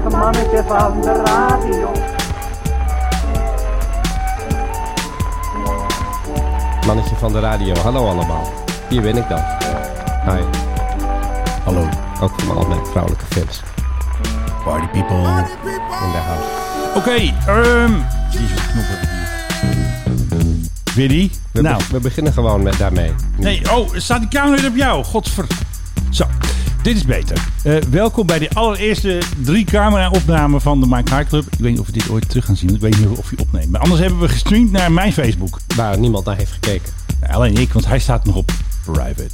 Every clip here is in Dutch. vrienden van de radio. Mannetje van de radio, hallo allemaal. Hier ben ik dan. Hi. Hallo, Ook voor al mijn vrouwelijke fans party people. in de house. Oké, ehm. Jezus, knop heb ik hier. Weer die? We, nou, be- we beginnen gewoon met daarmee. nee, oh, staat die camera weer op jou? Godver. Zo, dit is beter. Eh, welkom bij de allereerste drie camera-opname van de Mike High Club. Ik weet niet of we dit ooit terug gaan zien. want Ik weet niet of je opneemt. Maar anders hebben we gestreamd naar mijn Facebook. Waar niemand naar heeft gekeken. Alleen ik, want hij staat nog op private.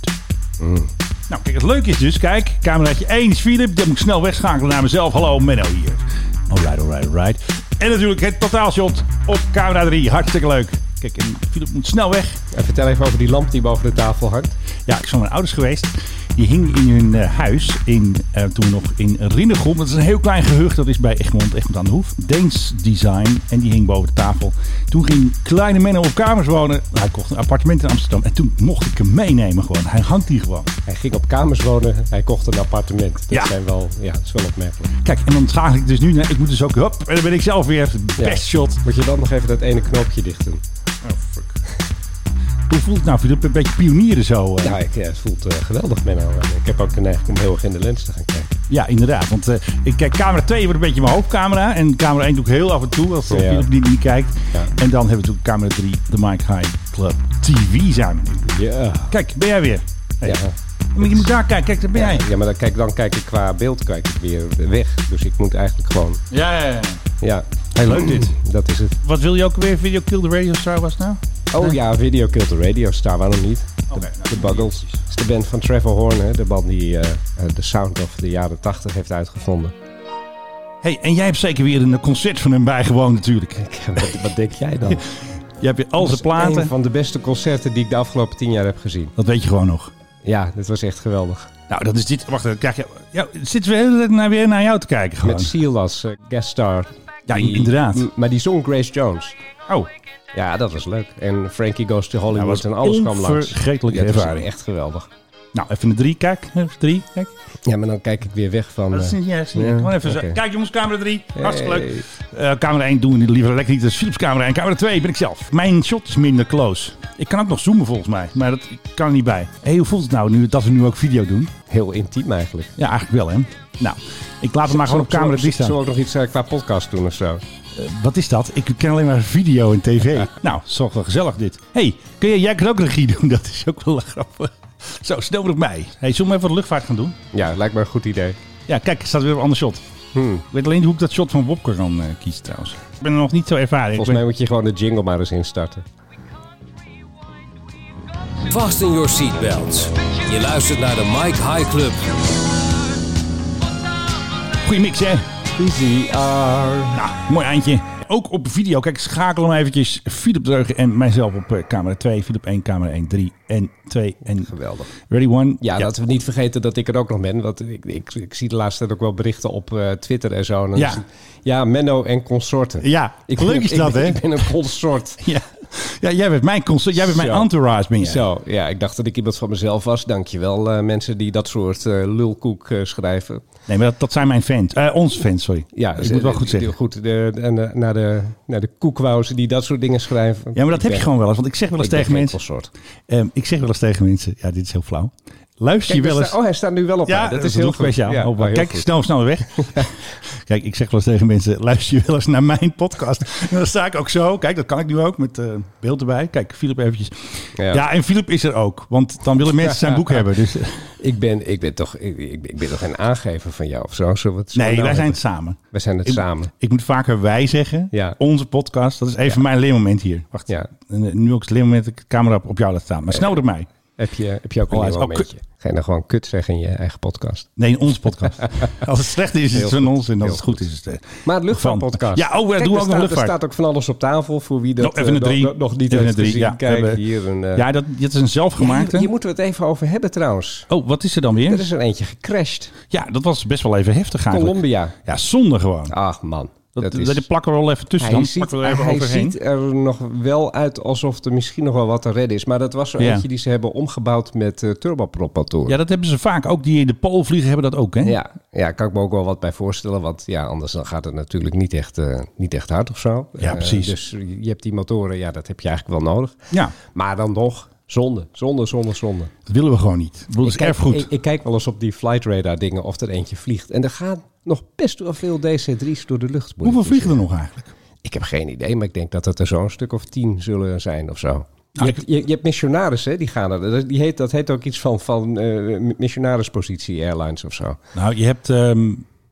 Nou, kijk, het leuke is dus, kijk, cameraatje 1 is Philip. Dan moet ik snel wegschakelen naar mezelf. Hallo, Menno hier. Alright, alright, alright. En natuurlijk het totaalshot op camera 3. Hartstikke leuk. Kijk, en Philip moet snel weg. En vertel even over die lamp die boven de tafel hangt. Ja, ik zou mijn ouders geweest. Die hing in hun eh, huis in, eh, toen we nog in Rinnegom. Dat is een heel klein gehucht, dat is bij Egmond, Egmond aan de Hoef. Deens Design. En die hing boven de tafel. Toen ging kleine Menno op kamers wonen. Hij kocht een appartement in Amsterdam. En toen mocht ik hem meenemen gewoon. Hij hangt hier gewoon. Hij ging op kamers wonen, hij kocht een appartement. Dat Ja. zijn wel, ja, dat is wel opmerkelijk. Kijk, en dan schakel ik dus nu naar... Ik moet dus ook... Hop, en dan ben ik zelf weer best Ja. shot. Moet je dan nog even dat ene knoopje dichten? Oh, fuck. Hoe voelt het nou? Vind je het een beetje pionieren zo? eh? Ja, ik, ja, het voelt eh, geweldig, Menno. En Ik heb ook de neiging om heel erg in de lens te gaan kijken. Ja, inderdaad. Want eh, ik kijk, camera 2 wordt een beetje mijn hoofdcamera. En camera 1 doe ik heel af en toe, als Ja. op Philip die niet kijkt. Ja. En dan hebben we natuurlijk camera 3, de Mike High Club TV zijn we nu. Ja. Kijk, ben jij weer. Hey. Ja. Maar je moet daar kijken, kijk, daar ben jij. Ja, maar dan kijk, dan kijk ik qua beeld kijk ik weer weg. Dus ik moet eigenlijk gewoon... Ja, ja, ja. Ja, Hey, leuk dit. dat is het. Wat wil je ook weer? Video Kill the Radio Star was het nou? Oh ja, Video Kill the Radio Star, waarom niet? De, Oké, nou, de Buggles. Dat is de band van Trevor Horn, hè? de man die eh, eh, de sound of de jaren 80 heeft uitgevonden. hey, en jij hebt zeker weer een eh, concert van hem bijgewoond natuurlijk. wat, wat denk jij dan? Je hebt weer al Dat zijn is Een platen. van de beste concerten die ik de afgelopen tien jaar heb gezien. Dat weet je gewoon nog. Ja, dat was echt geweldig. Nou, dat is dit. Wacht, dan krijg je... Ja, zitten we de hele tijd naar, weer naar jou te kijken gewoon. Met Silas, eh, guest star. Ja, Die- inderdaad. m- Maar die zong Grace Jones. Oh, Ja, dat was leuk. En Frankie Goes to Hollywood was en alles kwam langs. onvergetelijke Ja, dat was ervaring. echt geweldig. nou, even een drie, kijk. Even drie, kijk. Ja, maar dan kijk ik weer weg van... Dat is eh, niet, ja, dat is niet. Ja, Gewoon even zo. oké. Kijk jongens, camera 3. Hartstikke leuk. hey. Eh, camera 1 doen we niet, liever lekker niet. Dat is Philips camera 1. Camera 2 ben ik zelf. Mijn shot is minder close. Ik kan ook nog zoomen volgens mij. Maar dat kan er niet bij. Hé, hoe voelt het nou nu dat we nu ook video doen? Heel intiem eigenlijk. Ja, eigenlijk wel hè. Nou, ik laat het maar gewoon op Zullen- camera Zullen 3 staan. Eh, we ook nog iets eh, qua podcast doen of zo? Wat is dat? Ik ken alleen maar video en tv. Nou, dat is toch wel gezellig dit. Hé, hey, kun jij, jij kan ook regie doen. Dat is ook wel grappig. Zo, snel op mij. Hé, hey, zullen we even wat luchtvaart gaan doen? Ja, lijkt me een goed idee. Ja, kijk, er staat weer een ander shot. Hmm. Ik weet alleen niet hoe ik dat shot van Wopke kan eh, kiezen trouwens. Ik ben er nog niet zo ervaren. Ik Volgens ben- mij moet je gewoon de jingle maar eens instarten. Vast in your seatbelts. Je luistert naar de Mike High Club. Goeie mix, hè? Easy R. Nou, mooi eindje. Ook op video. Kijk, ik schakel hem eventjes. Philip Dreugen en mijzelf op eh, camera 2. Philip 1, camera 1, 3 en 2 en... Geweldig. Ready, one? Ja, laten we niet vergeten dat ik er ook nog ben. Want ik, ik, ik zie de laatste tijd ook wel berichten op eh, Twitter en zo. En dan Ja. zie- ja, Menno en consorten. Ja, ik leuk ben- is dat, ik, ben- hè? Ik ben een consort. Ja. ja, jij bent mijn constant, jij bent mijn Zo. entourage, ben je. Zo, ja, ik dacht dat ik iemand van mezelf was. Dankjewel, eh mensen die dat soort eh, lulkoek eh, schrijven. Nee, maar dat, dat zijn mijn fans. Eh, onze fans, sorry. Ja, eh, ik moet wel goed zeggen. Goed, de, en, eh, naar de, naar de koekwauzen die dat soort dingen schrijven. Ja, maar dat Ik heb ben- je gewoon wel eens. Want ik zeg wel eens ik ben tegen geen mensen... consort. ehm, ik zeg wel eens tegen mensen... Ja, dit is heel flauw. Luister Kijk, je wel daar eens... sta- oh, hij staat nu wel op. mij. dat is heel doe ik goed. speciaal. Ja, Oh, maar heel kijk, goed. snel, snel weg. kijk, ik zeg wel eens tegen mensen, luister je wel eens naar mijn podcast? En dan sta ik ook zo. Kijk, dat kan ik nu ook, met eh, beeld erbij. Kijk, Filip eventjes. Ja. Ja. en Filip is er ook. Want dan willen mensen zijn boek hebben. Dus, Ik ben, ik ben toch, ik, ik, ik ben toch geen aangever van jou of zo. Zullen we het zo nee, nou wij zijn hebben? het samen. we zijn het Ik- samen. Ik moet vaker wij zeggen. Ja. Onze podcast. Dat is even mijn leermoment hier. Wacht. Ja. En, eh, Nu ook het leermoment dat ik de camera op, op jou laat staan. Maar snel door mij. Heb je, heb je ook Oh, een hij is- nieuw oh, momentje? Ga je nou gewoon kut zeggen in je eigen podcast? Nee, in onze podcast. Als het slecht is, is Heel het van goed. ons. En als Heel het goed is, is het... eh, Maar het luchtvaartpodcast. Ja, oh, eh, doen we Kijk, ook nog er staat, luchtvaart. Er staat ook van alles op tafel voor wie dat Nog even eh, een drie. nog, nog niet even heeft een drie. gezien. Ja, Kijk, we hebben- hier een... eh, ja, dat, dit is een zelfgemaakte. hier, hier moeten we het even over hebben trouwens. Oh, wat is er dan weer? Er is er eentje gecrashed. Ja, dat was best wel even heftig eigenlijk. Colombia. Ja, zonde gewoon. Ach man. Dat Dat, Dat dat, is- plakken we er wel even tussen. Hij, Dan ziet, plakken we er even hij overheen. ziet er nog wel uit alsof er misschien nog wel wat te redden is. Maar dat was zo Ja. eentje die ze hebben omgebouwd met eh turbopropmotoren. Ja, dat hebben ze vaak. Ook die in de pool vliegen hebben dat ook, hè? Ja, ja, kan ik me ook wel wat bij voorstellen. Want ja, anders dan gaat het natuurlijk niet echt, eh, niet echt hard of zo. Ja, Eh, precies. dus je hebt die motoren, ja, dat heb je eigenlijk wel nodig. Ja, Maar dan nog, zonde, zonde, zonde, zonde. dat willen we gewoon niet. Ik bedoel, het is kijk, erfgoed. Ik, ik kijk wel eens op die flight radar dingen of er eentje vliegt. En er gaan nog best wel veel DC-3's door de lucht. moet Hoeveel ik dus je vliegen er nog eigenlijk? zeggen. Ik heb geen idee, maar ik denk dat het er zo'n stuk of tien zullen zijn of zo. Je Nou, hebt, je, je hebt missionarissen, die gaan er. dat- Die heet, dat heet ook iets van, van eh, missionarispositie airlines of zo. Nou, je hebt, ehm,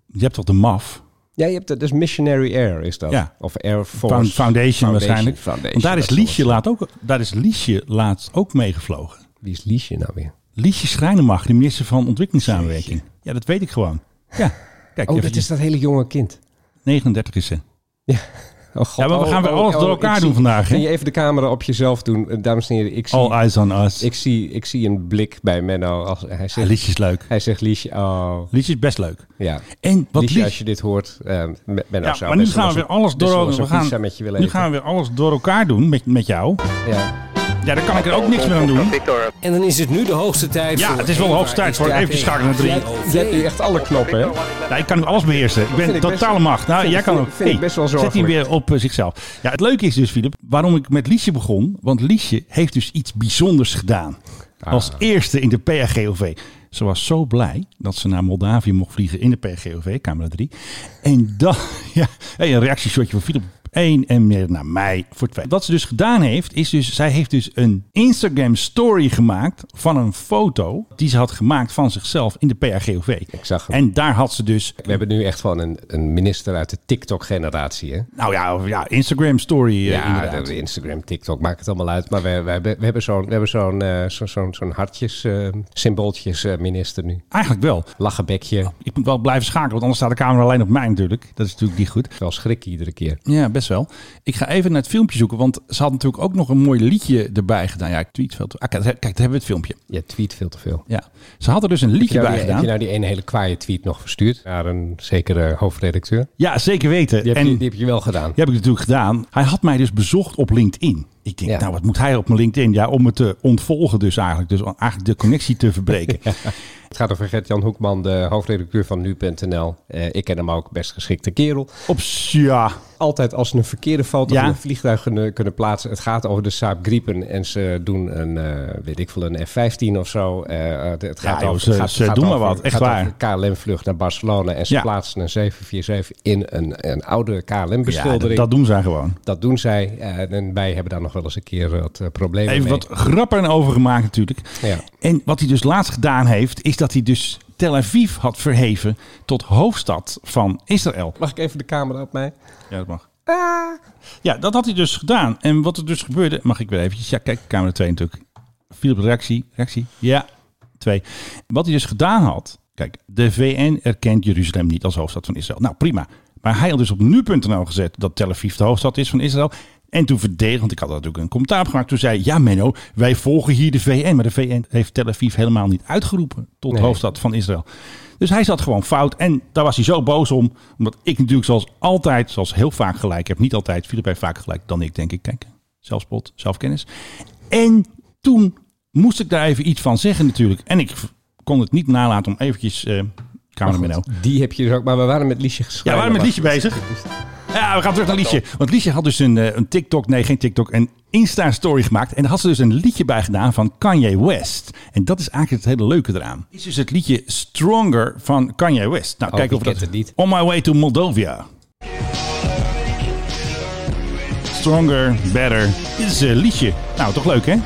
je hebt toch de MAF? Ja, je hebt dat, dus Missionary Air is dat. Ja. Of Air Force. Foundation, Foundation waarschijnlijk. Foundation, Want daar is, dat Liesje laat ook, daar is Liesje laatst ook meegevlogen. soort. Wie is Liesje nou weer? Liesje Schrijnemacher, de minister van Ontwikkelingssamenwerking. Ja, dat weet ik gewoon. Ja, kijk, Oh, even, dat is dat hele jonge kind. 39 is ze. Oh, God, Ja, maar we oh, gaan weer oh, alles oh, door ik elkaar zie- doen vandaag. Kun Hè? je even de camera op jezelf doen? Eh, Dames en heren, ik zie, All eyes on us. ik zie, ik zie een blik bij Menno. Als, hij, Ja, zegt, Ah, Liesje is leuk. hij zegt Liesje. Oh, Liesje is best leuk. ja. En wat Liesje, Lies- als je dit hoort, eh, M- Menno Ja, zou maar nu best gaan we wel weer alles eens een- best wel door, eens we een gaan, pizza met je willen nu eten. gaan we weer alles door elkaar doen met, met jou. Ja. Ja, daar kan ik er ook niks meer aan doen. En dan is het nu de hoogste tijd Ja, voor... het is wel de hoogste tijd voor even schakelen naar drie. Je hebt nu echt alle knoppen, hè? Ja, Oh, ik kan nu alles beheersen. Ik ben vind ik best- totale macht. Nou, vind- jij kan vind- ook. vind ik best wel zet hij zorgelijk. weer op eh, zichzelf. Ja, het leuke is dus, Filip, waarom ik met Liesje begon. Want Liesje heeft dus iets bijzonders gedaan. Ah. Als eerste in de PHGOV. Ze was zo blij dat ze naar Moldavië mocht vliegen in de PHGOV, camera 3. En dan, ja, hey, een reactieshotje van Filip op één en meer naar mij voor twee. Wat ze dus gedaan heeft, is dus, zij heeft dus een Instagram story gemaakt van een foto die ze had gemaakt van zichzelf in de PHGOV. Ik zag hem. En daar had ze dus We hebben nu echt gewoon een, een minister uit de TikTok-generatie, hè? nou ja, ja Instagram story eh, Ja, inderdaad. dat- Instagram, TikTok, maakt het allemaal uit. Maar we, we hebben, we hebben zo'n we hebben zo'n eh, zo, zo'n zo'n hartjes, eh, symbooltjes eh, minister nu. Eigenlijk wel. Lachenbekje, Ik moet wel blijven schakelen, want anders staat de camera alleen op mij natuurlijk. Dat is natuurlijk niet goed. wel schrik iedere keer. Ja, best wel. Ik ga even naar het filmpje zoeken, want ze had natuurlijk ook nog een mooi liedje erbij gedaan. Ja, ik tweet veel te... Ah, kijk, kijk, daar hebben we het filmpje. Je tweet veel te veel. Ja. Ze had er dus een Heb je, liedje nou bij die, heb gedaan. je nou die ene hele kwaaie tweet nog verstuurd naar een zekere hoofdredacteur? Ja, zeker weten. Die heb, en je, die heb je wel gedaan. die heb ik natuurlijk gedaan. Hij had mij dus bezocht op LinkedIn. Ik denk, Ja. nou, wat moet hij op mijn LinkedIn? Ja, om me te ontvolgen dus eigenlijk. Dus eigenlijk de connectie te verbreken. Het gaat over Gert-Jan Hoekman, de hoofdredacteur van nu.nl. Eh, ik ken hem ook, best geschikte kerel. Op, ja, altijd als ze een verkeerde foto Ja. van een vliegtuig kunnen, kunnen plaatsen. Het gaat over de Saab Gripen en ze doen een, eh, weet ik veel, een F-15 of zo. Eh, eh, het gaat joh, over, ze- het gaat, ze het gaat doen maar over- wat, echt gaat waar. over een KLM-vlucht naar Barcelona en ze Ja. plaatsen een 747 in een, een oude ja KLM-beschildering. dat, dat, dat doen zij gewoon. doen zij eh, en wij hebben daar nog wel eens een keer wat eh, problemen Even mee. wat grappen over gemaakt natuurlijk. Ja. En wat hij dus laatst gedaan heeft, is dat hij dus Tel Aviv had verheven tot hoofdstad van Israël. Mag ik even de camera op mij? Ja, dat mag. Ja, dat had hij dus gedaan. En wat er dus gebeurde, mag ik weer eventjes. Ja, kijk, camera 2 natuurlijk. Philip, reactie, reactie. Ja, 2. Wat hij dus gedaan had, kijk, de VN erkent Jeruzalem niet als hoofdstad van Israël. Nou, prima. Maar hij had dus op nu.nl gezet dat Tel Aviv de hoofdstad is van Israël. En toen verdedigend, want ik had daar natuurlijk een commentaar op gemaakt. Toen zei hij, ja Menno, wij volgen hier de VN. Maar de VN heeft Tel Aviv helemaal niet uitgeroepen tot Nee. hoofdstad van Israël. Dus hij zat gewoon fout. En daar was hij zo boos om. Omdat ik natuurlijk zoals altijd, zoals heel vaak gelijk heb. Niet altijd, Filip heeft vaak gelijk dan ik, denk ik. Kijk, zelfspot, zelfkennis. En toen moest ik daar even iets van zeggen natuurlijk. En ik v- kon het niet nalaten om eventjes... eh camera Menno. Die heb je dus ook, maar we waren met Liesje Ja, geschreven. we waren met Liesje bezig. Ja, we gaan terug naar Liesje. Want Liesje had dus een, eh, een TikTok, nee geen TikTok, een Insta-story gemaakt. En daar had ze dus een liedje bij gedaan van Kanye West. En dat is eigenlijk het hele leuke eraan. Dit is dus het liedje Stronger van Kanye West. Nou, Oh, kijk wie of we dat... kent het niet? On My Way to Moldovia. Stronger, Better. Dit is een liedje. Nou, toch leuk hè?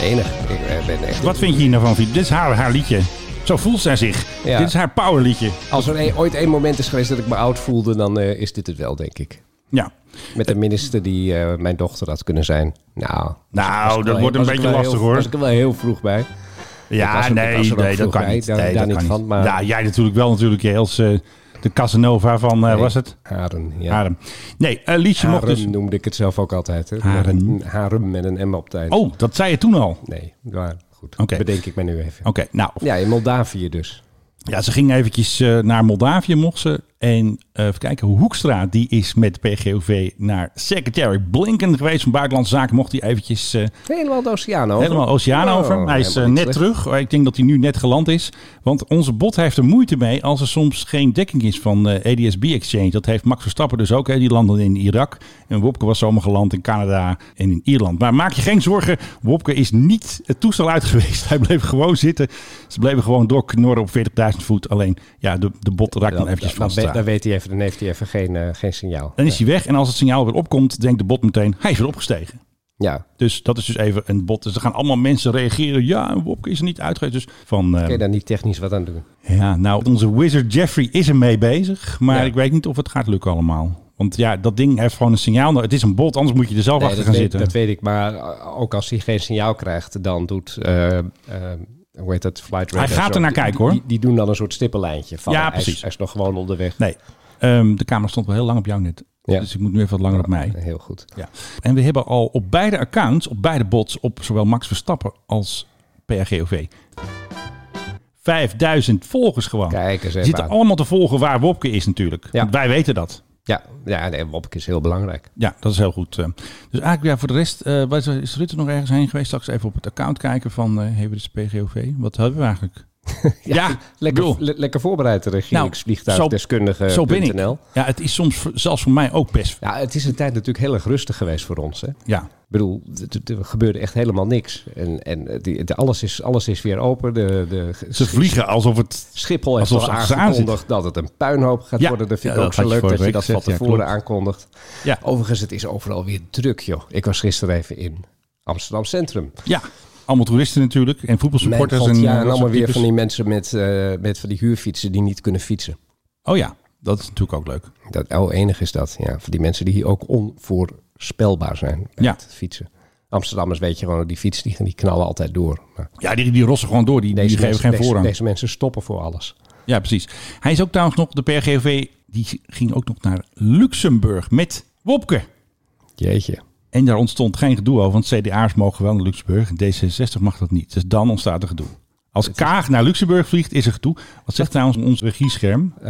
Enig. Ik eh, ben echt Wat vind je hier nou van, Fiep? Dit is haar, haar liedje. Zo voelt zij zich. Ja. Dit is haar powerliedje. Als er een- ooit één moment is geweest dat ik me oud voelde, dan eh, is dit het wel, denk ik. Ja. Met een minister die eh, mijn dochter had kunnen zijn. Nou, was Nou, ik dat wel- wordt een was ik wel beetje heel- lastig hoor. Was ik er wel heel vroeg bij. Ik was Ja, er- ik was nee, er ook nee, dat vroeg kan bij, niet. daar- Nee, daar dat niet kan van, niet. maar- Ja, jij natuurlijk wel natuurlijk. Jij als eh, de Casanova van, eh, was het? Haren, ja. Harem. Nee, eh, Liesje mocht Harem dus... noemde ik het zelf ook altijd. Hè. Haren. Harem met een M op tijd. Oh, dat zei je toen al. Oké, Nee, maar goed. Oké. Bedenk ik me nu even. nou. Ja, in Moldavië dus. Ja, ze ging eventjes eh, naar Moldavië, mocht ze. En eh, even kijken, Hoekstra die is met PGOV naar Secretary Blinken geweest van Buitenlandse Zaken. Mocht hij eventjes eh, Helemaal de oceaan over. Helemaal oceaan Oh, over. Hij is eh, helemaal net niet terug. Ik denk dat hij nu net geland is. Want onze bot heeft er moeite mee als er soms geen dekking is van eh ADSB Exchange. Dat heeft Max Verstappen dus ook. Hè. Die landde in Irak. En Wopke was zomaar geland in Canada en in Ierland. Maar maak je geen zorgen. Wopke is niet het toestel uit geweest. Hij bleef gewoon zitten. Ze bleven gewoon doorknorren op 40.000 voet. Alleen ja, de, de bot raakt dan Dan, eventjes dan, vast. eh. weet- dan weet hij even, dan heeft hij even geen, eh, geen signaal. Dan is hij weg. En als het signaal weer opkomt, denkt de bot meteen, hij is weer opgestegen. Ja, Dus dat is dus even een bot. Dus er gaan allemaal mensen reageren. Ja, en Wopke is er niet uitgeweest. Dus van, eh, kun je daar niet technisch wat aan doen. ja, nou, onze wizard Jeffrey is ermee bezig. Maar Ja. ik weet niet of het gaat lukken allemaal. Want ja, dat ding heeft gewoon een signaal. nodig. Het is een bot, anders moet je er zelf Nee, achter dat, gaan weet, zitten. dat weet ik, maar eh, ook als hij geen signaal krijgt, dan doet... eh, eh, hoe heet dat? Flight radar gaat zo. er naar Die- kijken, hoor. Die, die doen dan een soort stippenlijntje. Van, Ja, hij is- precies. Hij is nog gewoon onderweg. Nee, Ehm, de camera stond wel heel lang op jou net. Ja. Dus ik moet nu even wat langer op mij. Heel goed. Ja. En we hebben al op beide accounts, op beide bots, op zowel Max Verstappen als PRGOV... 5000 volgers gewoon. Kijk eens Ze even zitten aan. allemaal te volgen waar Wopke is natuurlijk. Ja. Want wij weten dat. Ja, ja nee, Wopke is heel belangrijk. Ja, dat is heel goed. eh. Dus eigenlijk ja, voor de rest, eh, wat- is Rutte nog ergens heen geweest? Straks even op het account kijken van eh hebben we dus PGOV? Wat hebben we eigenlijk? ja, Lekker, bedoel, Nou, le- lekker voorbereid, de regeringsvliegtuigdeskundige.nl. zo ben ik. Ja, het is soms voor- zelfs voor mij ook best. Ja, het is een tijd natuurlijk heel erg rustig geweest voor ons. Hè? Ik Ja, bedoel, d- d- er gebeurde echt helemaal niks. En, en eh, die, de- alles, is, alles is weer open. De, de, ze vliegen alsof het... Schiphol heeft Alsof al ze achter ze aan aangekondigd dat het een puinhoop gaat Ja, worden. Dat vind ik ja, ook dat zo had je leuk dat je vorige dat week van gezegd, ja, tevoren klopt. aankondigt. Ja, Overigens, het is overal weer druk, joh. Ik was gisteren even in Amsterdam Centrum. ja, allemaal toeristen natuurlijk en Mijn voetbalsupporters. god, en, ja, eh, en dat allemaal soort weer types. van die mensen met, eh, met van die huurfietsen die niet kunnen fietsen. Oh ja, dat is natuurlijk ook leuk. Dat oh, enig is dat, ja. Voor die mensen die hier ook onvoorspelbaar zijn met Ja. het fietsen. Amsterdammers weet je gewoon, die fiets die, die knallen altijd door. Maar Ja, die, die rossen gewoon door, die, die geven mensen, geen deze- voorrang. deze mensen stoppen voor alles. Ja, precies. Hij is ook trouwens nog, de PRGOV, die ging ook nog naar Luxemburg met Wopke. Jeetje. En daar ontstond geen gedoe over, want CDA's mogen wel naar Luxemburg en D66 mag dat niet. Dus dan ontstaat er gedoe. Als Kaag naar Luxemburg vliegt, is er gedoe. Wat zegt trouwens ons regiescherm? Eh,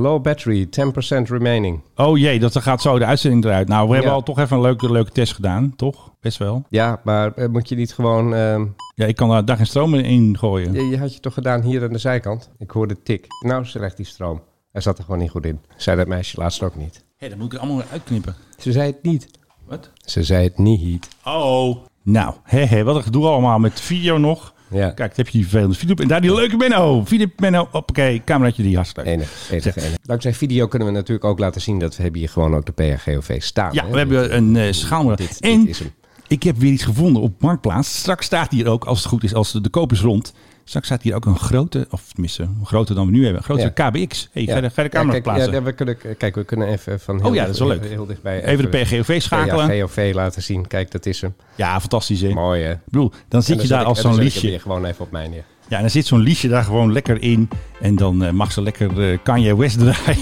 low battery, 10% remaining. Oh jee, dat gaat zo de uitzending eruit. Nou, we hebben Ja. al toch even een leuke, leuke test gedaan, toch? Best wel. Ja, maar eh, moet je niet gewoon... ehm, Ja, ik kan daar dag en stroom in gooien. je, je had je toch gedaan hier aan de zijkant? Ik hoorde tik. Nou, slecht die stroom. Hij zat er gewoon niet goed in. Zei dat meisje laatst ook niet. Hé, dat moet ik allemaal weer uitknippen. Ze zei het niet. Wat? Ze zei het niet. Oh. Nou, hè, hè, wat een gedoe allemaal met video nog. Ja. Kijk, dan heb je die vervelende video. En daar die leuke Menno. Filip Menno, hoppakee, cameraatje die hartstikke leuk. Enig, enig, enig. Dankzij video kunnen we natuurlijk ook laten zien dat we hebben hier gewoon ook de PRGOV staan. Ja, Nou, hè? we hebben een eh schaalmodel. dit- dit en is hem. ik heb weer iets gevonden op Marktplaats. Straks staat hier ook, als het goed is, als de, de koop is rond. Straks staat hier ook een grote, of tenminste, groter dan we nu hebben. Een grotere KBX. Hey, ga, de, ga de camera kijk, plaatsen. ja, we kunnen, kijk, we kunnen even van heel, Oh ja, dicht- dat is wel leuk. heel dichtbij Even de PGOV schakelen. Ja, PRGOV laten zien. Kijk, dat is hem. fantastisch hè. Mooi, hè? Ik bedoel, dan zit je daar als zo'n liedje. Je gewoon even op mij neer. Ja, en dan zit zo'n liedje daar gewoon lekker in. En dan eh, mag ze lekker eh, Kanye West draaien.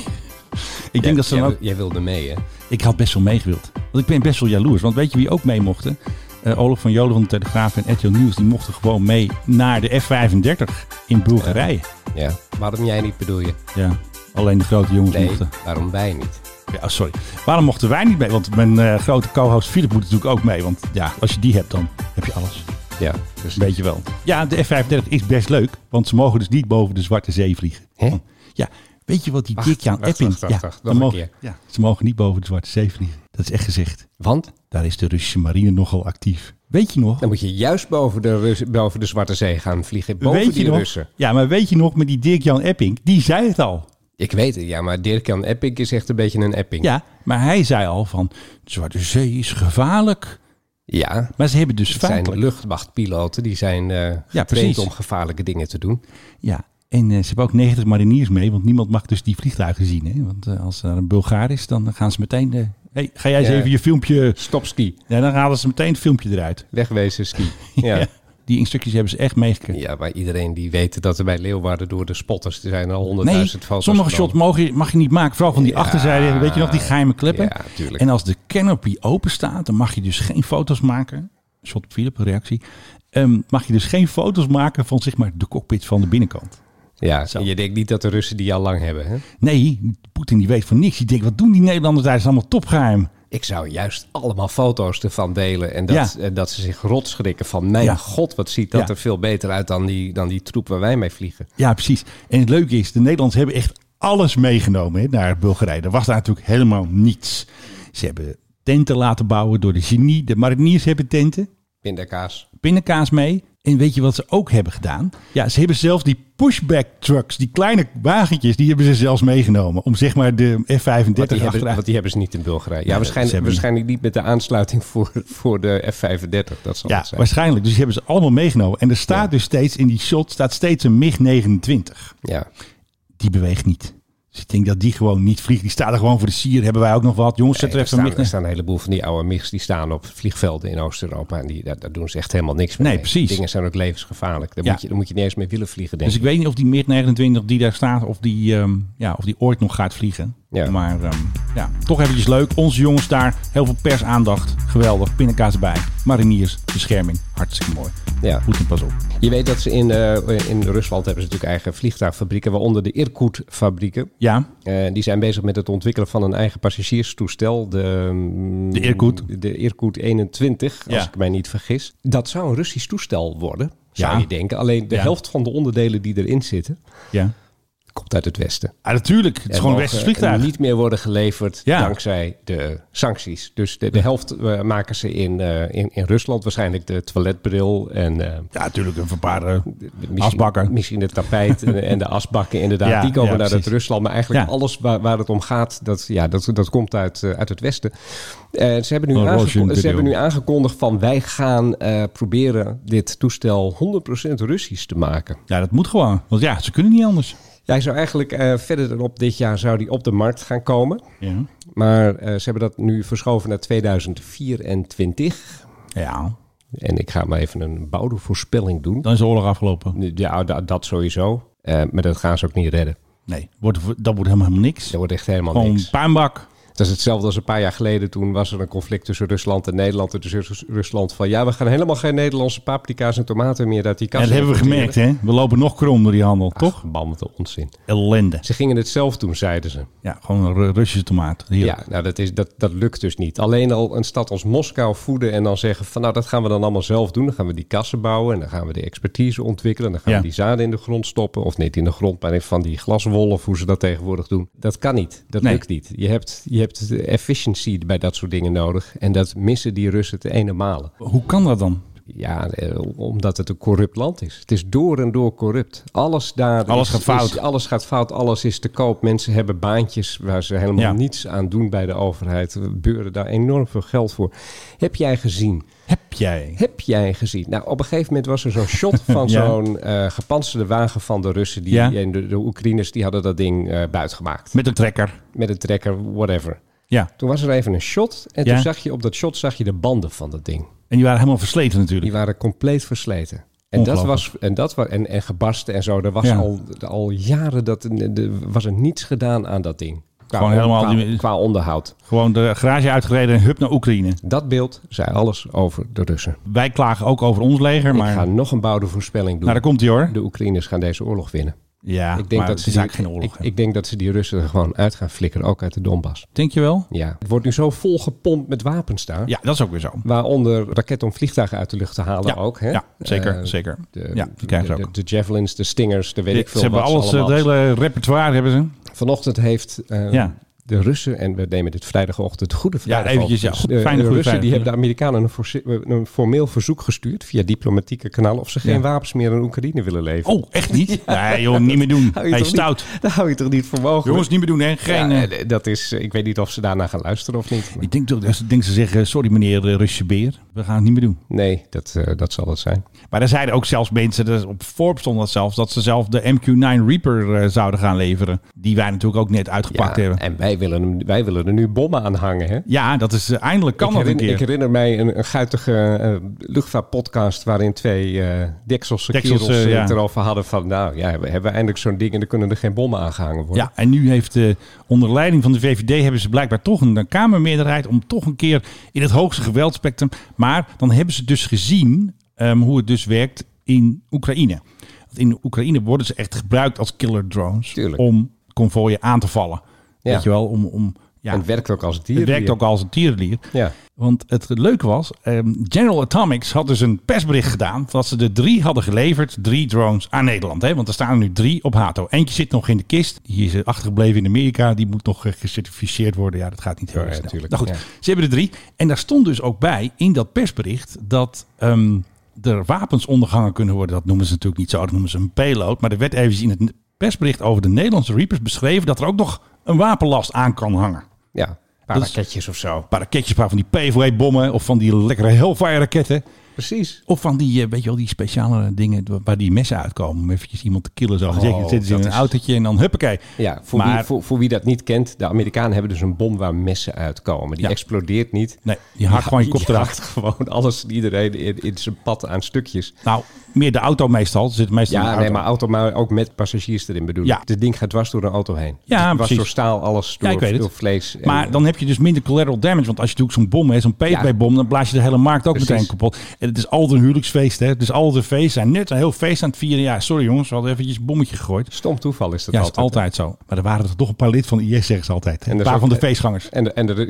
ik denk dat ze dan jij, ook... jij wilde mee, hè? Ik had best wel meegewild. Want ik ben best wel jaloers. Want weet je wie ook mee mochten? Eh, Olaf van Jolen van de Telegraaf en RTL Nieuws. Die mochten gewoon mee naar de F-35 in Bulgarije. Ja. Waarom jij niet bedoel je? Ja, alleen de grote jongens Nee, mochten. waarom wij niet? Ja, oh, sorry. Waarom mochten wij niet mee? Want mijn eh, grote co-host Philip moet natuurlijk ook mee. Want ja, als je die hebt, dan heb je alles. Ja, dus Weet je wel. Ja, de F-35 is best leuk. Want ze mogen dus niet boven de Zwarte Zee vliegen. Hè? Ja, weet je wat die Wacht, dik Jan wacht, Epping... wacht, wacht, Ja, wacht. ze Nog een mogen- keer. ja, ze mogen niet boven de Zwarte Zee vliegen. Dat is echt gezegd. Want Daar is de Russische marine nogal actief. Weet je nog? dan moet je juist boven de, Rus- boven de Zwarte Zee gaan vliegen. Boven weet die je nog? Russen. Ja, maar weet je nog met die Dirk-Jan Epping? Die zei het al. Ik weet het, ja, maar Dirk-Jan Epping is echt een beetje een Epping. Ja, maar hij zei al van... De Zwarte Zee is gevaarlijk. ja Maar ze hebben dus Het zijn feitelijk... luchtmachtpiloten, die zijn eh getraind precies. om gevaarlijke dingen te doen. Ja, en eh, ze hebben ook 90 mariniers mee. Want niemand mag dus die vliegtuigen zien. Hè? Want eh, als er een Bulgaar is, dan gaan ze meteen... eh, hey, ga jij eens Ja. even je filmpje... Stop ski, Ja, dan halen ze meteen het filmpje eruit. wegwezen ski. Ja. ja. Die instructies hebben ze echt meegekregen. maar iedereen die weet dat er bij Leeuwarden door de spotters, er zijn al Nee, honderdduizend foto's sommige shots genomen. mag je, mag je niet maken. Vooral van die Ja. achterzijde. Weet je nog, die geheime kleppen. Ja, tuurlijk. En als de canopy open staat, dan mag je dus geen foto's maken. Shot op Philip, reactie. Ehm, mag je dus geen foto's maken van zeg maar de cockpit van de binnenkant. Ja, Zo. je denkt niet dat de Russen die al lang hebben. Hè? Nee, Poetin die weet van niks. Die denkt, wat doen die Nederlanders daar? Dat is allemaal topgeheim. Ik zou juist allemaal foto's ervan delen. En dat, Ja. en dat ze zich rot schrikken van... mijn Ja. god, wat ziet dat Ja. er veel beter uit dan die, dan die troep waar wij mee vliegen. Ja, precies. En het leuke is, de Nederlanders hebben echt alles meegenomen hè, naar Bulgarije. Er was daar natuurlijk helemaal niets. Ze hebben tenten laten bouwen door de genie. De mariniers hebben tenten, Pindakaas. pindakaas mee. En weet je wat ze ook hebben gedaan? Ja, ze hebben zelfs die pushback trucks, die kleine wagentjes, die hebben ze zelfs meegenomen. Om zeg maar de F-35 Want die, hebben, achteruit want die hebben ze niet in Bulgarije. Ja, Nee, ze waarschijnlijk, hebben- waarschijnlijk niet met de aansluiting voor, voor de F-35. Dat zal Ja, het zijn. waarschijnlijk. Dus die hebben ze allemaal meegenomen. En er staat dus steeds in die shot staat steeds een MiG-29. Ja. Die beweegt niet. Dus ik denk dat die gewoon niet vliegt. Die staat er gewoon voor de sier. Hebben wij ook nog wat? Jongens, zet Nee, er er, even een staan, er MiG. staan een heleboel van die oude MIGs die staan op vliegvelden in Oost-Europa. En die, daar, daar doen ze echt helemaal niks mee. Nee, precies. Die dingen zijn ook levensgevaarlijk. Daar, Ja. moet, je, daar moet je niet eens mee willen vliegen, denk Dus ik weet niet of die MiG-29 die daar staat, of die, ehm, ja, of die ooit nog gaat vliegen. Ja. Maar ehm, ja, toch eventjes leuk. Onze jongens daar. Heel veel persaandacht. Geweldig. Pindakaas erbij. Mariniers. Bescherming. Hartstikke mooi. Ja. Poetin, pas op. Je weet dat ze in, eh, in Rusland hebben ze natuurlijk eigen vliegtuigfabrieken, waaronder de Irkut-fabrieken. Ja, Eh, die zijn bezig met het ontwikkelen van een eigen passagierstoestel. De, mm, De Irkut. De Irkut 21, Ja. als ik mij niet vergis. Dat zou een Russisch toestel worden, zou Ja. je denken. Alleen de Ja. helft van de onderdelen die erin zitten, ja. eh, komt uit het Westen. Ah, natuurlijk. Het is En gewoon een mogen eh, Westers vliegtuig. niet meer worden geleverd Ja. dankzij de sancties. Dus de, de helft eh, maken ze in, eh, in, in Rusland. Waarschijnlijk de toiletbril en eh, Ja, natuurlijk. Een verpaarde misschien, asbakken. misschien het tapijt en, en de asbakken inderdaad. Ja, die komen ja, naar precies. het Rusland. Maar eigenlijk Ja. alles waar, waar het om gaat, dat, ja, dat, dat komt uit, eh, uit het Westen. Eh, ze, hebben nu Een roosje in aangeko- de ze hebben deel. nu aangekondigd van wij gaan eh, proberen dit toestel 100% Russisch te maken. Ja, dat moet gewoon. Want ja, ze kunnen niet anders. Hij zou eigenlijk eh, verder dan op dit jaar zou die op de markt gaan komen. Ja. Maar eh, ze hebben dat nu verschoven naar 2024. Ja, En ik ga maar even een bouwde voorspelling doen. dan is de oorlog afgelopen. Ja, da- dat sowieso. Eh, maar dat gaan ze ook niet redden. Nee, wordt, dat wordt helemaal niks. Dat wordt echt helemaal Gewoon niks. puinbak. Dat is hetzelfde als een paar jaar geleden. Toen was er een conflict tussen Rusland en Nederland. En tussen Rus- Rusland van ja, we gaan helemaal geen Nederlandse paprika's en tomaten meer uit die En kast. dat hebben we gemerkt, hè? We lopen nog krom door die handel, toch? Gebanden onzin. Ellende. Ze gingen het zelf doen, zeiden ze. Ja, gewoon een Ru- Russische tomaat. Heerlijk. Ja, nou, dat, is, dat, dat lukt dus niet. Alleen al een stad als Moskou voeden en dan zeggen van nou, dat gaan we dan allemaal zelf doen. Dan gaan we die kassen bouwen en dan gaan we de expertise ontwikkelen. En dan gaan Ja. we die zaden in de grond stoppen. Of niet in de grond, maar in van die glaswollen of hoe ze dat tegenwoordig doen. Dat kan niet. Dat Nee. lukt niet. Je hebt, je hebt de efficiency bij dat soort dingen nodig. En dat missen die Russen te ene malen. Hoe kan dat dan? Ja, eh, omdat het een corrupt land is. Het is door en door corrupt. Alles daar. Alles is- gaat fout. is- alles gaat fout. Alles is te koop. Mensen hebben baantjes waar ze helemaal Ja. niets aan doen bij de overheid. We beuren daar enorm veel geld voor. Heb jij gezien? Heb jij? Heb jij gezien? Nou, op een gegeven moment was er zo'n shot van Ja. zo'n eh gepantserde wagen van de Russen. Die, Ja. En de, de Oekraïners die hadden dat ding eh buitgemaakt. Met een trekker. Met een trekker, whatever. Ja. Toen was er even een shot. En Ja. toen zag je op dat shot zag je de banden van dat ding. En die waren helemaal versleten natuurlijk. Die waren compleet versleten. En dat Ongelooflijk. was, en dat was, en, en gebarsten en zo. Er was Ja. al, al jaren dat er was er niets gedaan aan dat ding. Qua, Gewoon helemaal qua, die- qua onderhoud. Gewoon de garage uitgereden en hup naar Oekraïne. Dat beeld zei alles over de Russen. Wij klagen ook over ons leger, maar... Ik ga nog een bouwde voorspelling doen. Nou, daar komt hij hoor. De Oekraïners gaan deze oorlog winnen. Ja, ik denk dat het ze is die, eigenlijk geen oorlog. ik, ik denk dat ze die Russen er gewoon uit gaan flikkeren, ook uit de Donbass. Denk je wel? Ja. Het wordt nu zo volgepompt met wapens daar. Ja, dat is ook weer zo. Waaronder raketten om vliegtuigen uit de lucht te halen ja, ook. Hè? ja, zeker, Eh, zeker. De, ja, die krijgen ze de, ook. de javelins, de stingers, de weet ik ze veel hebben wat ze alles, het allemaal- hele repertoire hebben ze. Vanochtend heeft eh, Ja. de Russen, en we nemen dit vrijdagochtend Goede Vrijdag op, eventjes, ja. dus Fijne de, Goede de Russen Vrijdag, die ja. hebben de Amerikanen een, forse- een formeel verzoek gestuurd via diplomatieke kanalen of ze geen Ja. wapens meer aan Oekraïne willen leveren. Oh, echt niet? Nee joh, niet meer doen. Hou je Hij is toch niet- stout. Daar hou je toch niet voor mogelijk? Jongens, niet meer doen hè. Geen... Ja, eh, eh, dat is, eh, ik weet niet of ze daarna gaan luisteren of niet. maar Ik denk, toch- ik denk ze zeggen, sorry meneer eh, Russische beer, we gaan het niet meer doen. nee, dat, eh, dat zal het zijn. Maar er zeiden ook zelfs mensen, dat is op Forbes stond dat zelfs, dat ze zelf de MQ-9 Reaper eh, zouden gaan leveren. Die wij natuurlijk ook net uitgepakt Ja, hebben. en wij willen, hem- wij willen er nu bommen aan hangen, hè? Ja, dat is eh, eindelijk kan ik, dat een herinner, keer. ik herinner mij een, een guitige eh, luchtvaartpodcast waarin twee eh dekselse Dekselse, kerels eh, ja. het erover hadden van... nou ja, we hebben we eindelijk zo'n ding en er kunnen er geen bommen aangehangen worden. ja, en nu heeft eh, onder leiding van de VVD hebben ze blijkbaar toch een, een Kamermeerderheid om toch een keer in het hoogste geweldspectrum. Maar dan hebben ze dus gezien ehm, hoe het dus werkt in Oekraïne. in Oekraïne worden ze echt gebruikt als killer drones Tuurlijk. om konvooien aan te vallen. Ja. Weet je wel, om, om ja, En het werkt ook als een dier. het werkt ook als een tierenlier. Ja. Want het leuke was, ehm, General Atomics had dus een persbericht gedaan dat ze er drie hadden geleverd, drie drones aan Nederland. Hè? Want er staan er nu drie op Hato. Eentje zit nog in de kist, die is eh, achtergebleven in Amerika, die moet nog eh, gecertificeerd worden. Ja, dat gaat niet heel Ja, erg snel. tuurlijk, nou goed, ja. ze hebben er drie. En daar stond dus ook bij in dat persbericht dat ehm, er wapens ondergangen kunnen worden. Dat noemen ze natuurlijk niet zo, dat noemen ze een payload. Maar er werd even in het persbericht over de Nederlandse Reapers beschreven dat er ook nog een wapenlast aan kan hangen. ja. Een paar Dat is- raketjes of zo. Een paar raketjes, een paar van die PVW-bommen of van die lekkere Hellfire-raketten. Precies. Of van die, eh, weet je wel, die speciale dingen waar die messen uitkomen. Om eventjes iemand te killen zo. Dan zitten ze in Oh, dat een is- autootje en dan huppakee. Ja, voor, Maar- wie, voor, voor wie dat niet kent, de Amerikanen hebben dus een bom waar messen uitkomen. Die Ja. explodeert niet. Nee, je haakt gewoon je kop Die eraf. haakt gewoon alles, iedereen in, in zijn pad aan stukjes. Nou, meer de auto meestal. Ze zitten meestal in Ja, de nee, auto. maar auto, maar ook met passagiers erin bedoel ik. Ja. Dit ding gaat dwars door een auto heen. Ja, Dus het was precies. door staal, alles door, ik weet het. door vlees. en- Maar dan heb je dus minder collateral damage. Want als je natuurlijk zo'n bom hebt, zo'n PVW-bom, dan blaas je de hele markt ook Precies. meteen kapot. En het is altijd een huwelijksfeest, hè. Het is altijd een feest. Zijn net een heel feest aan het vieren. Ja, sorry jongens, we hadden eventjes een bommetje gegooid. Stom toeval is dat Ja, is altijd. altijd zo. Maar er waren er toch een paar lid van IS, zeggen ze altijd. En Een er paar is van ook- de feestgangers. En, en, er,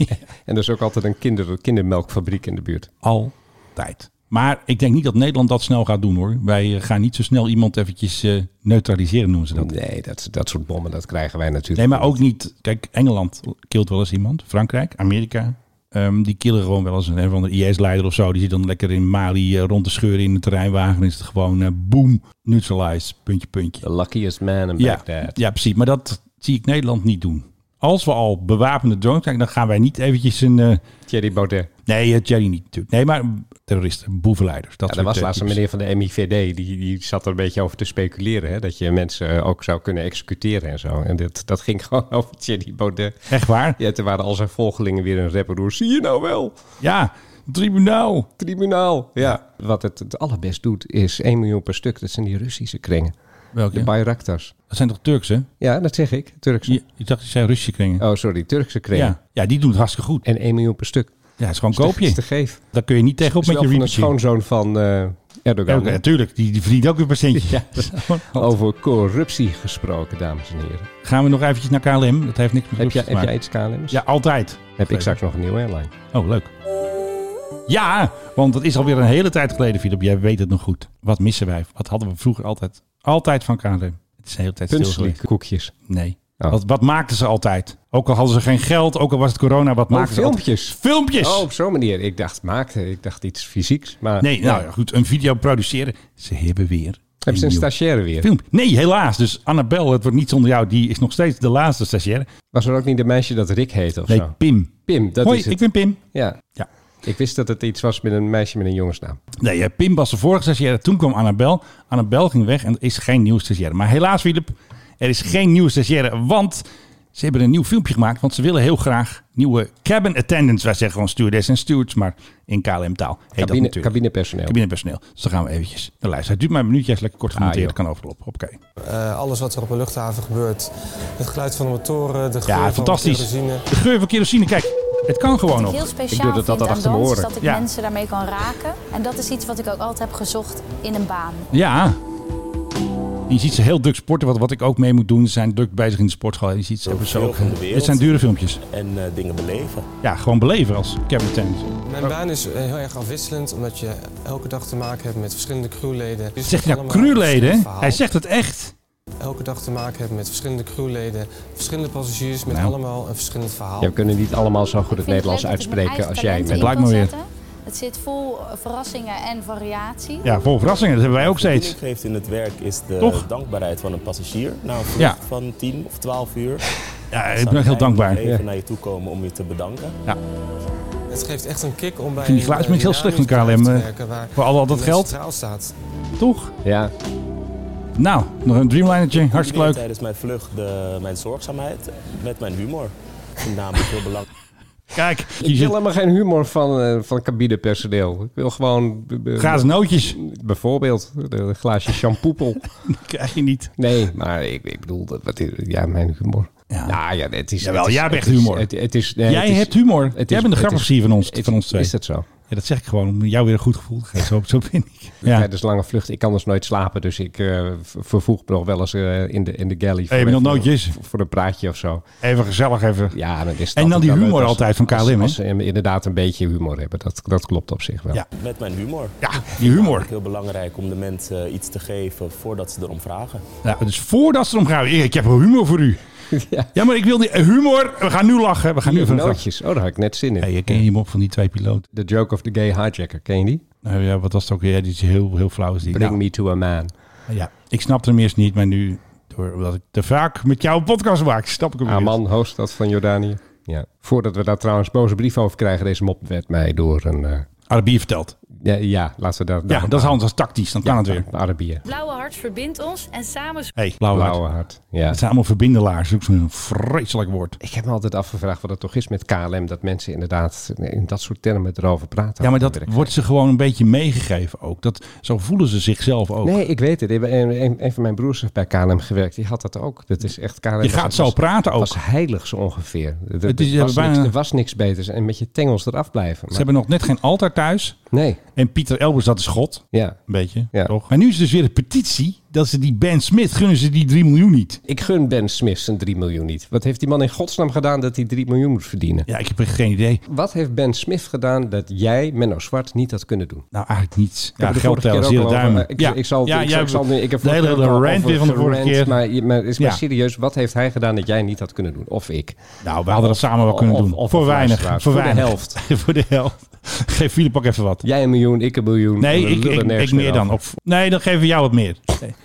en er is ook altijd een kinder, kindermelkfabriek in de buurt. Altijd. Maar ik denk niet dat Nederland dat snel gaat doen hoor. Wij eh, gaan niet zo snel iemand eventjes eh, neutraliseren, noemen ze dat. Nee, dat, dat soort bommen, dat krijgen wij natuurlijk. Nee, maar ook niet. Kijk, Engeland kilt wel eens iemand. Frankrijk, Amerika. ehm, die killen gewoon wel eens een, een van de IS-leider of zo. Die zit dan lekker in Mali eh, rond te scheuren in een terreinwagen. Dan is het gewoon eh, boom, neutralized, puntje, puntje. The luckiest man in Ja, Baghdad. ja, precies. Maar dat zie ik Nederland niet doen. Als we al bewapende drones krijgen, dan gaan wij niet eventjes een... eh, Thierry Baudet. nee, eh, Jerry niet natuurlijk. Nee, maar terroristen, boevenleiders. Ja, Dat er soort, was eh, laatst een types. meneer van de MIVD, die, die zat er een beetje over te speculeren. Hè? Dat je mensen eh, ook zou kunnen executeren en zo. En dit, dat ging gewoon over Thierry Baudet. Echt waar? Ja, toen waren al zijn volgelingen weer een rapper Zie je nou wel? Ja, tribunaal. Tribunaal. Ja. Wat het het allerbest doet, is 1 miljoen per stuk. Dat zijn die Russische kringen. Welke? De Bayraktars. Dat zijn toch Turkse? Ja, dat zeg ik. Turkse. Je, je dacht, die zijn Russische kringen. Oh, sorry. Turkse kringen. Ja. ja, die doen het hartstikke goed. En 1 miljoen per stuk. Ja, het is gewoon Is te- Is te koopje. geef. Daar kun je niet tegenop Is met wel je van een reapertje. schoonzoon van eh, Erdogan. Ja, natuurlijk. Die, die verdient ook weer patiëntjes. Ja. Over corruptie gesproken, dames en heren. Gaan we nog eventjes naar KLM? Dat heeft niks Heb met jij, Russen te heb jij maken. iets KLM's? Ja, altijd. Heb ik straks nog een nieuwe airline? Oh, leuk. Ja, want dat is alweer een hele tijd geleden, Filip. Jij weet het nog goed. Wat missen wij? Wat hadden we vroeger altijd? Altijd van KLM. Het is de hele tijd stil Punsley geweest. koekjes. Nee. Oh. Wat, wat maakten ze altijd? Ook al hadden ze geen geld, ook al was het corona, wat Maar maakten ze altijd? Oh, filmpjes. Filmpjes! Oh, op zo'n manier. Ik dacht maakte. Ik dacht iets fysieks. Maar Nee, nou ja, goed, een video produceren. Ze hebben weer. Hebben ze een nieuw stagiaire weer? film. Nee, helaas. Dus Annabel, het wordt niet zonder jou. Die is nog steeds de laatste stagiaire. Was er ook niet een meisje dat Rick heette of Nee, zo? Pim. Pim, dat Hoi, is het. ik ben Pim. Ja. Ja. Ik wist dat het iets was met een meisje met een jongensnaam. Nee, eh, Pim was de vorige stagiaire. Toen kwam Annabel. Annabel ging weg en er is geen nieuwe stagiaire. Maar helaas, Philip, er is geen nieuwe stagiaire. Want ze hebben een nieuw filmpje gemaakt. Want ze willen heel graag nieuwe cabin attendants. Wij zeggen gewoon stewardess en stewards, maar in KLM-taal. heet dat Cabine, natuurlijk. cabinepersoneel. Cabinepersoneel. Dus dan gaan we eventjes naar luisteren. Het duurt maar een minuutje. Hij is lekker kort gemonteerd. joh. kan overlopen. Oké. Eh, alles wat er op een luchthaven gebeurt. Het geluid van de motoren, de geur Ja, van fantastisch. de kerosine. De geur van kerosine, kijk, het kan gewoon Wat ik nog. heel speciaal Oh, Ik doe dat vind altijd aan achter mijn dans is oren. dat ik Ja. mensen daarmee kan raken. En dat is iets wat ik ook altijd heb gezocht in een baan. Ja. Je ziet ze heel druk sporten, wat, wat ik ook mee moet doen. Ze zijn druk bezig in de sportschool. Je ziet ze hebben zo. veel van de wereld. Het zijn dure filmpjes. en eh, dingen beleven. Ja, gewoon beleven als Kevin Tennis. Mijn baan is eh, heel erg afwisselend, omdat je elke dag te maken hebt met verschillende crewleden. Dus Zegt hij nou allemaal een crewleden? verschillend hè? verhaal. Hij zegt het echt. Elke dag te maken hebt met verschillende crewleden, verschillende passagiers, met Nou. allemaal een verschillend verhaal. Ja, we kunnen niet allemaal zo goed Ik het vind Nederlands leuk dat ik mijn uitspreken eigen als jij talenten met in Blijkt kan maar weer. zetten. Het zit vol eh, verrassingen en variatie. Ja, vol verrassingen. Dat hebben wij ook Wat steeds. ik geeft in het werk is de Toch? dankbaarheid van een passagier na een vlucht Ja. van 10 of 12 uur. Ja, ik ben ook heel dankbaar. Even Ja. naar je toe komen om je te bedanken. Het geeft echt een kick om bij vind die een, eh, geluidsmix heel slecht van dynamisch KLM, bedrijf eh, te werken waar Voor al, al dat mensen geld, centraal staat. toch? Ja, Nou, nog een Dreamlinertje. Combineer Hartstikke leuk. tijdens mijn vlucht de, mijn zorgzaamheid met mijn humor. Ik vind namelijk heel belangrijk. Kijk, ik je wil zit helemaal geen humor van, eh, van cabinepersoneel. Ik wil gewoon... eh, eh, grazen nootjes. Bijvoorbeeld eh, een glaasje shampoopel. Krijg je niet. Nee, maar ik, ik bedoel, dat- wat, ja, mijn humor. Ja. Nou ja, het is... Jawel, het is- jij hebt het echt is- humor. Het, het is, nee, Jij het is- hebt humor. het is- Jij bent de het is- grappigste hier van ons, het- van ons twee. Is dat zo? Ja, dat zeg ik gewoon om jou weer een goed gevoel te geven. Zo, zo ben ik. Ja. Tijdens lange vluchten, ik kan dus nooit slapen. Dus ik eh, v- vervoeg me nog wel eens eh, in, de, in de galley. voor je bent nog even- nootjes. Voor een praatje of zo. Even gezellig even. Ja, dan is En dan die wel humor leuk altijd van als- KLM, hè? Als ze inderdaad een beetje humor hebben. Dat, dat klopt op zich wel. Ja. Met mijn humor. Ja, die humor. Heel belangrijk om de mensen eh, iets te geven voordat ze erom vragen. Nou, dus voordat ze erom gaan, Erik, ik heb wel humor voor u. Ja. Ja. maar ik wil niet. Humor, we gaan nu lachen. We gaan nu Hier, even een grap. nootjes. Oh, daar had ik net zin in. Hey, je ken je die mop van die twee piloten? The Joke of the Gay Hijacker, ken je die? Nou ja, wat was het ook weer? Ja, die is heel, heel flauw. Is die. Bring Nou, me to a man. ja, ik snapte hem eerst niet, maar nu, door, omdat ik te vaak met jou een podcast maak, snap ik hem weer. Amman, hoofdstad van Jordanië. Ja. Voordat we daar trouwens boze brief over krijgen, deze mop werd mij door een... eh, Arabier verteld. ja, ja, laten we daar... Ja, dat is anders als tactisch, dan kan het weer. Een Arabier. Blauwe hart verbindt ons en samen... hey, blauwe hart. Blauwe hart. Ja. Het zijn allemaal verbindelaars. Ook zo'n vreselijk woord. Ik heb me altijd afgevraagd wat het toch is met KLM. Dat mensen inderdaad in dat soort termen erover praten. Ja, maar dat wordt ze gewoon een beetje meegegeven ook. Dat, zo voelen ze zichzelf ook. Nee, ik weet het. Een, een- een van mijn broers heeft bij KLM gewerkt. Die had dat ook. Dat is echt KLM. Je gaat was- zo was- praten ook. was heilig zo ongeveer. Er, er Het is- eh, was bijna- niks, er was niks beters. En met je tengels eraf blijven. Ze Maar- hebben nog net geen altaar thuis. Nee, En Pieter Elbers, dat is God. ja. Een beetje, Ja. toch? Maar nu is dus weer een petitie dat ze die Ben Smith gunnen ze die 3 miljoen niet. Ik gun Ben Smith zijn 3 miljoen niet. Wat heeft die man in godsnaam gedaan dat hij 3 miljoen moet verdienen? Ja, ik heb echt geen idee. Wat heeft Ben Smith gedaan dat jij, Menno Zwart, niet had kunnen doen? Nou, eigenlijk niets. Ik Ja, heb het geld de vorige tellen, keer ook zero al over- duimen. Ik, ja. ik zal, ja, ik, jij zal- ik zal nu, ik heb de vorige hele keer ook al rant over weer van de vorige gerant, keer. Maar, je- maar, is Ja. maar serieus, wat heeft hij gedaan dat jij niet had kunnen doen? Of ik? Nou, we hadden dat samen wel kunnen Of- doen. of- voor of weinig. Voor, luisteraars. Voor de weinig. helft. voor de helft. Geef Filip ook even wat. Jij een miljoen, ik een miljoen. Nee, We ik, lullen ik, nergens ik meer dan. over. Of, nee, dan geven we jou wat meer.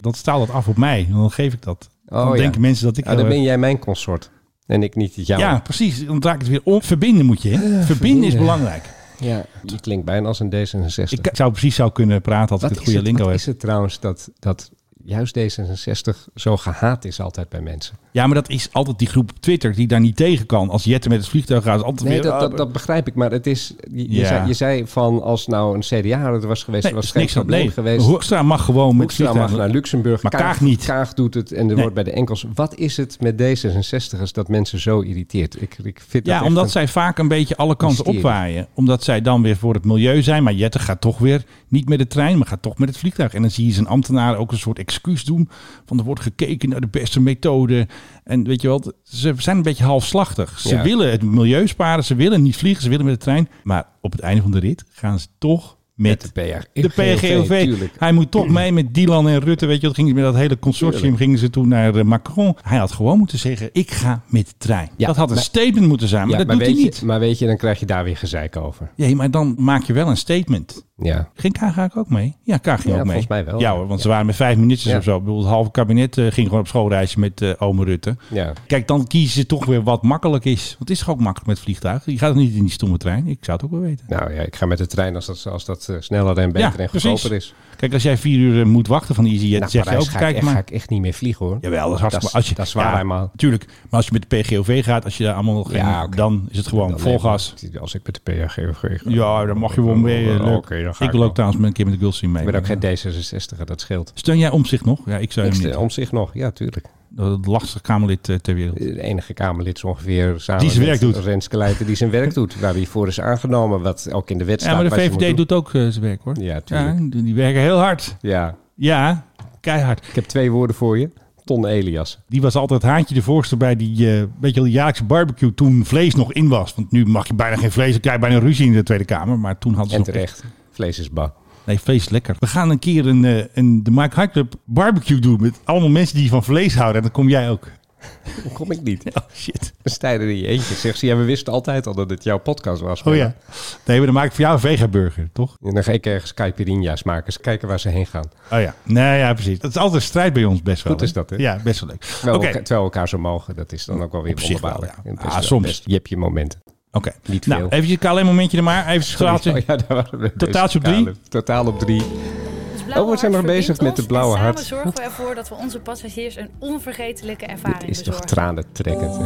Dan staat dat af op mij. Dan geef ik dat. Dan Oh, ja. denken mensen dat ik... Ja, dan heel ben erg- jij mijn consort. En ik niet jou. Eh, ja, precies. Dan draai ik het weer om. Verbinden moet je. Hè? Verbinden, is verbinden. belangrijk. ja. Je klinkt bijna als een D66. Ik zou precies zou kunnen praten als ik Wat het is, goede het, lingo wat heb. is het trouwens dat, dat juist D66 zo gehaat is altijd bij mensen? Ja, maar dat is altijd die groep op Twitter die daar niet tegen kan. Als Jette met het vliegtuig gaat, is altijd Nee, weer... Ah, dat, dat, dat begrijp ik, maar het is, je, je Ja. zei, je zei van als nou een CDA er was geweest, Nee, er dat was is geen niks aan probleem nee. geweest. Hoekstra mag gewoon met het Hoekstra mag naar vliegtuig. Luxemburg, Maar Kaag niet. Kaag doet het en er Nee. wordt bij de enkels. Wat is het met D66'ers dat mensen zo irriteert? Ik, ik vind dat Ja, echt omdat een- zij vaak een beetje alle kanten mysterie. opwaaien. Omdat zij dan weer voor het milieu zijn. Maar Jette gaat toch weer niet met de trein, maar gaat toch met het vliegtuig. En dan zie je zijn ambtenaren ook een soort excuus doen. Van er wordt gekeken naar de beste methode. En weet je wat, ze zijn een beetje halfslachtig. Ze Ja. willen het milieu sparen, ze willen niet vliegen, ze willen met de trein. Maar op het einde van de rit gaan ze toch met, Met de de PGOV. tuurlijk. Hij moet toch mee met Dylan en Rutte. Weet je wat? Gingen ze met dat hele consortium gingen ze toen naar eh, Macron. Hij had gewoon moeten zeggen: Ik ga met de trein. Ja, dat had een maar- statement moeten zijn, Ah, maar Ja, dat doet weet hij je, niet. Maar weet je, dan krijg je daar weer gezeik over. Nee, maar dan maak je wel een statement. Ja. Ging K ga ik ook mee? Ja, K ging ook mee. Ja, volgens mij wel. Ja hoor, want ze waren met vijf minuutjes Ja. of zo. Ik bedoel, het halve kabinet eh, ging gewoon op schoolreisje met eh ome Rutte. ja. Kijk, dan kiezen ze toch weer wat makkelijk is. Want het is toch ook makkelijk met vliegtuigen. Je gaat toch niet in die stomme trein. Ik zou het ook wel weten. Nou ja, ik ga met de trein als dat, als dat eh, sneller en beter en precies. goedkoper is. Kijk, als jij vier uur eh, moet wachten van Easyjet, Nou, zeg je Parijs ook, ga, ik, kijk echt- maar. ga ik echt niet meer vliegen hoor. Jawel, dat is hartstikke... Dat is- als je, dat is waar, ja, helemaal. Tuurlijk. Maar als je met de PGOV gaat, als je daar allemaal nog Ja, geen- oké. dan is het gewoon Dan vol neem ik- gas. Als ik met de PHG ga. Ja, dan mag je wel mee. eh, Oké, Leuk. dan ga ik ik wil wel. ook trouwens een keer met de Gulfstream mee. Ik ben ook geen D66, dat scheelt. Steun jij omzicht nog? Ja, ik zou Ik hem stel niet. om zich nog, ja, tuurlijk. Dat is Het lastigste Kamerlid eh, ter wereld. De enige Kamerlid zo ongeveer samen Die zijn werk met doet. Rens Keleijten die zijn werk doet. Waar hij voor is aangenomen, wat ook in de wet staat. Ja, maar de wat je moet VVD doen. doet ook eh, zijn werk hoor. Ja, tuurlijk. die die werken heel hard. Ja, Ja, keihard. ik heb twee woorden voor je. Ton Elias. Die was altijd haantje de voorste bij die, eh weet je wel, die jaarlijkse barbecue toen vlees nog in was. Want nu mag je bijna geen vlees, dan krijg je bijna ruzie in de Tweede Kamer. Maar toen hadden ze En nog echt- terecht. Vlees is ba. Nee, vlees is lekker. We gaan een keer een, eh, een, de Mike High Club barbecue doen met allemaal mensen die van vlees houden. En dan kom jij ook. Dan kom ik niet. Oh shit. Dan sta je er in je eentje. Zeg ze, ja, we wisten altijd al dat het jouw podcast was. Oh ja. Nee, maar dan maak ik voor jou een vegaburger, toch? En dan ga ik ergens caipirinha's maken. Eens kijken waar ze heen gaan. Oh ja. Nee, ja, precies. Dat is altijd strijd bij ons best wel. Goed is dat, hè? Ja, best wel leuk. Oké. Terwijl, we elkaar, terwijl we elkaar zo mogen. Dat is dan ook wel weer Op zich wel, wonderbaarlijk. ja. Het is Ah, wel soms. best- Je hebt je momenten. Oké. Niet Nou, veel. even je KLM momentje er maar. Even straaltje. Oh ja, daar waren we. Totaaltje op drie? Totaal op drie. Ons Oh, we zijn nog bezig met de blauwe en hart. samen zorgen we ervoor dat we onze passagiers een onvergetelijke ervaring Dit is toch bezorgen. tranen trekkend.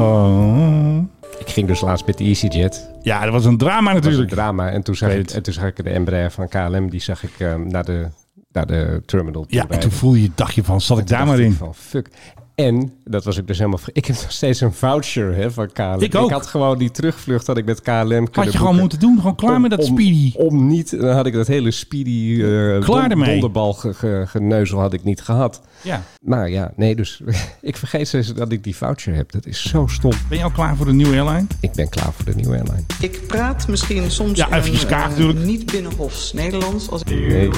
Oh. Ik ging dus laatst met de EasyJet. Ja, dat was een drama Dat was een natuurlijk. drama. En toen zag, Ik ik, weet het. en toen zag ik de Embraer van KLM. Die zag ik eh, naar, de, naar de terminal toe Ja, en rijden. toen voel je, dacht je van, zat ik daar dacht maar ik in? Van, fuck. En, dat was ik dus helemaal... ver- Ik heb nog steeds een voucher hè, van KLM. Ik ook. had gewoon die terugvlucht had ik met KLM kunnen Had je gewoon boeken. moeten doen. Gewoon klaar Om- met dat om- speedy. Om, niet, dan had ik dat hele speedy eh Klaar don- ermee. donderbal ge- ge- geneuzel had ik niet gehad. Ja. Maar ja, nee, dus ik vergeet steeds dat ik die voucher heb. Dat is zo stom. Ben je al klaar voor de nieuwe airline? Ik ben klaar voor de nieuwe airline. Ik praat misschien soms Ja, in een, eventjes kaag eh, natuurlijk. niet binnenhofs Nederlands. Als... Nee,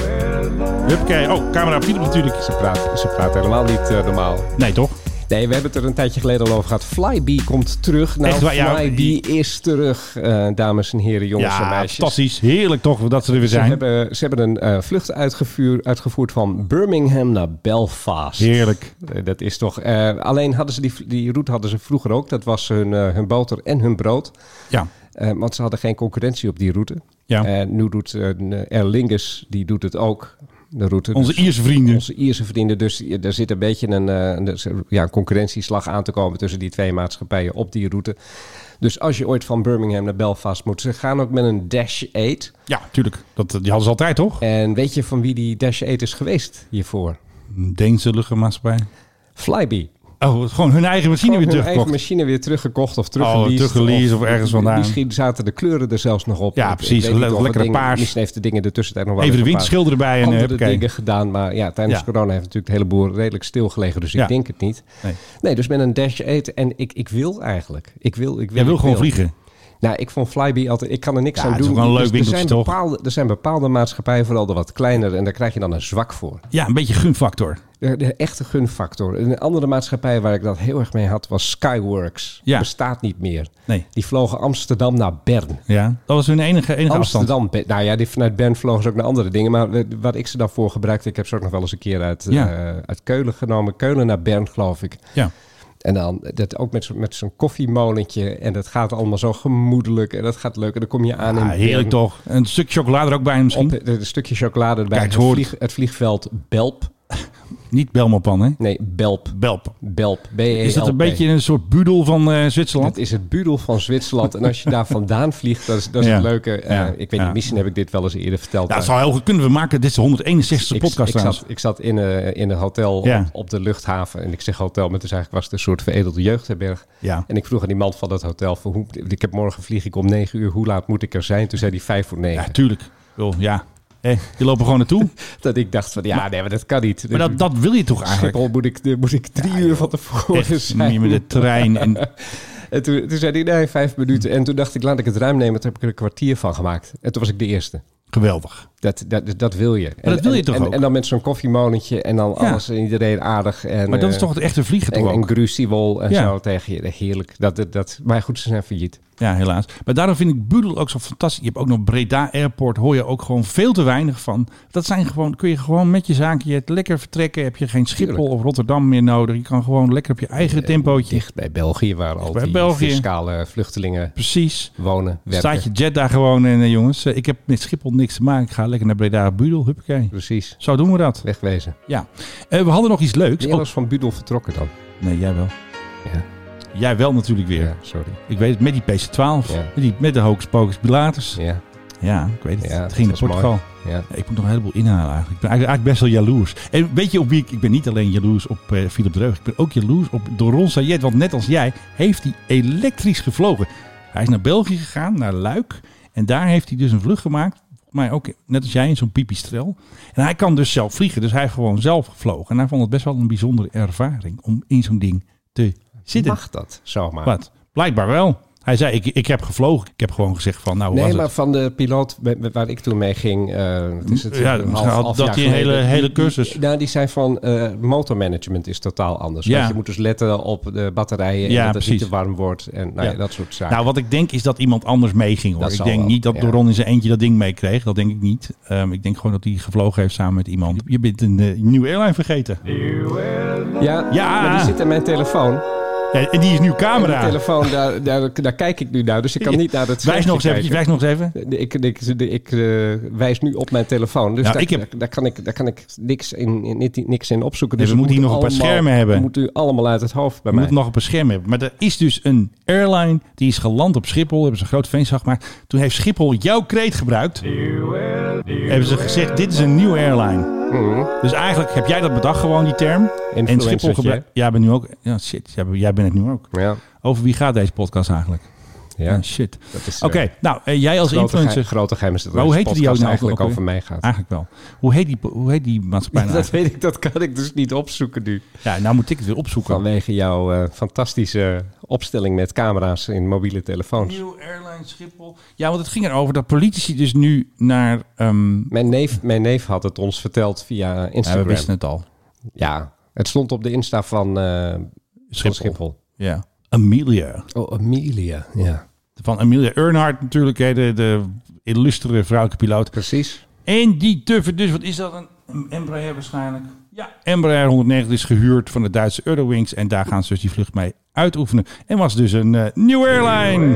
Huppakee. Oh, camera Piet natuurlijk. ze praat, ze praat helemaal niet eh, normaal. Nee, toch? Nee, we hebben het er een tijdje geleden al over gehad. Flybe komt terug. Nou, Echt waar, ja. Flybe is terug, eh, dames en heren, jongens en Ja, meisjes. fantastisch. Heerlijk toch dat ze er weer Ze zijn. hebben, ze hebben een eh, vlucht uitgevuur- uitgevoerd van Birmingham naar Belfast. Heerlijk. Eh, Dat is toch. eh, alleen hadden ze die, die route hadden ze vroeger ook. Dat was hun, eh, hun boter en hun brood. Ja. Eh, want ze hadden geen concurrentie op die route. Ja. Eh, nu doet eh, Aer Lingus, die doet het ook. De route. Onze Dus- Ierse vrienden. Onze Ierse vrienden. Dus je- er zit een beetje een, eh, een- dus, ja, een concurrentieslag aan te komen tussen die twee maatschappijen op die route. Dus als je ooit van Birmingham naar Belfast moet, ze gaan ook met een Dash 8. Ja, tuurlijk. Dat, die hadden ze altijd, toch? En weet je van wie die Dash 8 is geweest hiervoor? Deense luchtvaartmaatschappij. Flybee. Oh, gewoon hun eigen machine weer Gewoon hun teruggekocht. eigen machine weer teruggekocht of Oh, teruggeleased. teruggeleased of ergens vandaan. Misschien zaten de kleuren er zelfs nog op. Ja, Ik- precies. ik weet niet of er Lekkere dingen- paars. Misschien heeft de dingen de tussentijd nog wel Even de een paar windschilder erbij en, eh, andere huppakee. dingen gedaan. Maar ja, tijdens Ja. corona heeft natuurlijk een heleboel redelijk stilgelegen. Dus ik Ja. denk het niet. Nee. Nee, dus met een Dash 8. En ik, ik wil eigenlijk. Ik wil, ik wil, Jij wil ik gewoon vliegen. Nou, ik vond Flybe altijd... Ik kan er niks Ja, aan het doen. dus is ook wel een leuk er, winkeltje, zijn toch? bepaalde, er zijn bepaalde maatschappijen, vooral de wat kleinere. En daar krijg je dan een zwak voor. Ja, een beetje gunfactor. De, de echte gunfactor. Een andere maatschappij waar ik dat heel erg mee had was Skyworks. Ja. Bestaat niet meer. Nee. Die vlogen Amsterdam naar Bern. Ja, dat was hun enige, enige afstand. Amsterdam, Be- nou ja, die vanuit Bern vlogen ze ook naar andere dingen. Maar eh, waar ik ze dan voor gebruikte, ik heb ze ook nog wel eens een keer uit, Ja. eh, uit Keulen genomen. Keulen naar Bern, geloof ik. Ja. En dan dat ook met zo'n met zo'n koffiemolentje. En dat gaat allemaal zo gemoedelijk. En dat gaat leuk. En dan kom je aan in Ah, heerlijk Bern. toch? Een stuk chocolade er ook bij misschien. Op eh, een stukje chocolade erbij. Kijk, het het, hoort. vlieg- het vliegveld Belp. Niet Belmopan, hè? Nee, Belp. Belp. Belp. b E Is dat een beetje een soort budel van eh, Zwitserland? Dat is het budel van Zwitserland. En als je daar vandaan vliegt, dat is, dat is Ja. het leuke. Eh, Ja. Ik weet Ja. niet, misschien heb ik dit wel eens eerder verteld. Nou, dat maar zou heel goed kunnen. We maken dit is de 161ste ik, podcast ik, trouwens. zat, ik zat in, eh, in een hotel Ja. op, op de luchthaven. En ik zeg hotel, maar het is eigenlijk was het een soort veredelde jeugdherberg. Ja. En ik vroeg aan die man van dat hotel, van hoe, ik heb morgen vlieg ik om negen uur, hoe laat moet ik er zijn? Toen zei hij vijf voor negen. Ja, tuurlijk. Wel, ja. Hé, je loopt er gewoon naartoe. dat ik dacht van, ja, nee, maar dat kan niet. Maar dat, dat wil je toch eigenlijk? Schiphol moet ik, eh, moet ik drie uur van tevoren Echt, zijn. niet meer de trein. En, En toen, toen zei hij, nee, vijf minuten. Hm. En toen dacht ik, laat ik het ruim nemen. Toen heb ik er een kwartier van gemaakt. En toen was ik de eerste. geweldig. Dat, dat, dat wil je. En- dat wil je en- toch en, ook? En dan met zo'n koffiemolentje en dan Ja. alles en iedereen aardig. En, Maar dat is eh, toch het echte vliegen En, toch en ook? Gruziewol en Ja. zo tegen je. Eh, Heerlijk. Dat, dat, dat, maar goed, ze zijn failliet. Ja, helaas. Maar daarom vind ik Budel ook zo fantastisch. Je hebt ook nog Breda Airport, hoor je ook gewoon veel te weinig van. Dat zijn gewoon, kun je gewoon met je zaakje het lekker vertrekken. Heb je geen Schiphol Tuurlijk. Eh, of Rotterdam meer nodig. Je kan gewoon lekker op je eigen tempootje. Dicht bij België, waar al bij die België. fiscale vluchtelingen Precies. wonen, werken. Staat je jet daar gewoon en eh, jongens, eh, ik heb met Schiphol niks te maken. Ik ga lekker naar Breda Budel, huppakee. Precies. Zo doen we dat. Wegwezen. Ja. Eh, we hadden nog iets leuks. Is Oh, alles van Budel vertrokken dan? nee, jij wel. Ja. Jij wel natuurlijk weer. Ja, sorry. Ik weet het, met die PC-12. Ja. Met, die, met de Hocus Pocus Pilatus. Ja, Ja, ik weet het. Ja, het ging naar dat was Portugal. ja. Ja, Ik moet nog een heleboel inhalen eigenlijk. Ik ben eigenlijk, eigenlijk best wel jaloers. En weet je op wie ik... Ik ben niet alleen jaloers op eh Philip Dreug. Ik ben ook jaloers op Doron Sayed. Want net als jij heeft hij elektrisch gevlogen. Hij is naar België gegaan, naar Luik. En daar heeft hij dus een vlucht gemaakt. Volgens mij ook, net als jij, in zo'n pipistrel. En hij kan dus zelf vliegen. Dus hij heeft gewoon zelf gevlogen. En hij vond het best wel een bijzondere ervaring om in zo'n ding te zitten. Mag dat zomaar? Wat? Blijkbaar wel. Hij zei, ik, ik heb gevlogen. Ik heb gewoon gezegd van, nou, hoe Nee, was maar het? van de piloot met- met waar ik toen mee ging, eh, wat is het Ja, een half, misschien had half dat jaar die geleden, hele- die- hele die- cursus. nou, die zei van eh, motormanagement is totaal anders. Ja. Want je moet dus letten op de batterijen Ja, en dat het niet precies. te warm wordt en nou ja, Ja. dat soort zaken. Nou, wat ik denk is dat iemand anders meeging. Hoor. Dat Ik zal denk wel, niet dat ja. Doron in zijn eentje dat ding meekreeg. Dat denk ik niet. Ehm, ik denk gewoon dat hij gevlogen heeft samen met iemand. Je bent een eh, nieuwe airline vergeten. ja, Nou, Ja. maar die zit in mijn telefoon. Ja, en die is nu En camera. die telefoon, daar, daar, daar kijk ik nu naar, dus ik kan niet naar dat Wijs schermpje nog eens even. kijken. Wijs nog eens even. Ik, ik, de- ik eh, wijs nu op mijn telefoon. Dus Ja, daar, Nou, ik heb- daar, kan ik, daar kan ik niks in, in, in- niks in opzoeken. Nee, Dus we moeten het hier nog moet een paar allemaal- schermen hebben. Moet u allemaal uit het hoofd bij Je mij. moet nog op een scherm hebben. Maar er is dus een airline die is geland op Schiphol. Hebben ze een groot feestdag gemaakt. Toen heeft Schiphol jouw kreet gebruikt. Hebben ze gezegd, dit is een nieuwe airline. Dus eigenlijk heb jij dat bedacht gewoon, die term. En Schiphol Mhm. Influencertje, gebruikt... Jij bent nu ook... Ja, shit, jij, bent- jij bent het nu ook. Ja, Over wie gaat deze podcast eigenlijk? ja. Ah, shit. dat is, Oké, eh, nou, eh, jij als grote, geheim- influencer... grote geheim is dat Maar hoe deze heette die podcast ook nou eigenlijk ook over mij gaat. Eigenlijk wel. Hoe heet die, hoe heet die maatschappij nou dat eigenlijk? weet ik, dat kan ik dus niet opzoeken nu. Ja, nou moet ik het weer opzoeken. Vanwege jouw eh, fantastische opstelling met camera's in mobiele telefoons. Nieuw Airline Schiphol. Ja, want het ging erover dat politici dus nu naar... ehm, Mijn neef, mijn neef had het ons verteld via ja, we Instagram. wisten het al. Ja, het stond op de Insta van eh, van Schiphol. Schiphol. Ja. Amelia. Oh, Amelia. Ja, Van Amelia Earnhardt natuurlijk, hè, de, de illustere vrouwelijke piloot. precies. En die tuffe dus, wat is dat? Een een Embraer waarschijnlijk. Ja, Embraer 190 is gehuurd van de Duitse Eurowings. En daar gaan ze dus die vlucht mee uitoefenen. En was dus een eh nieuwe airline.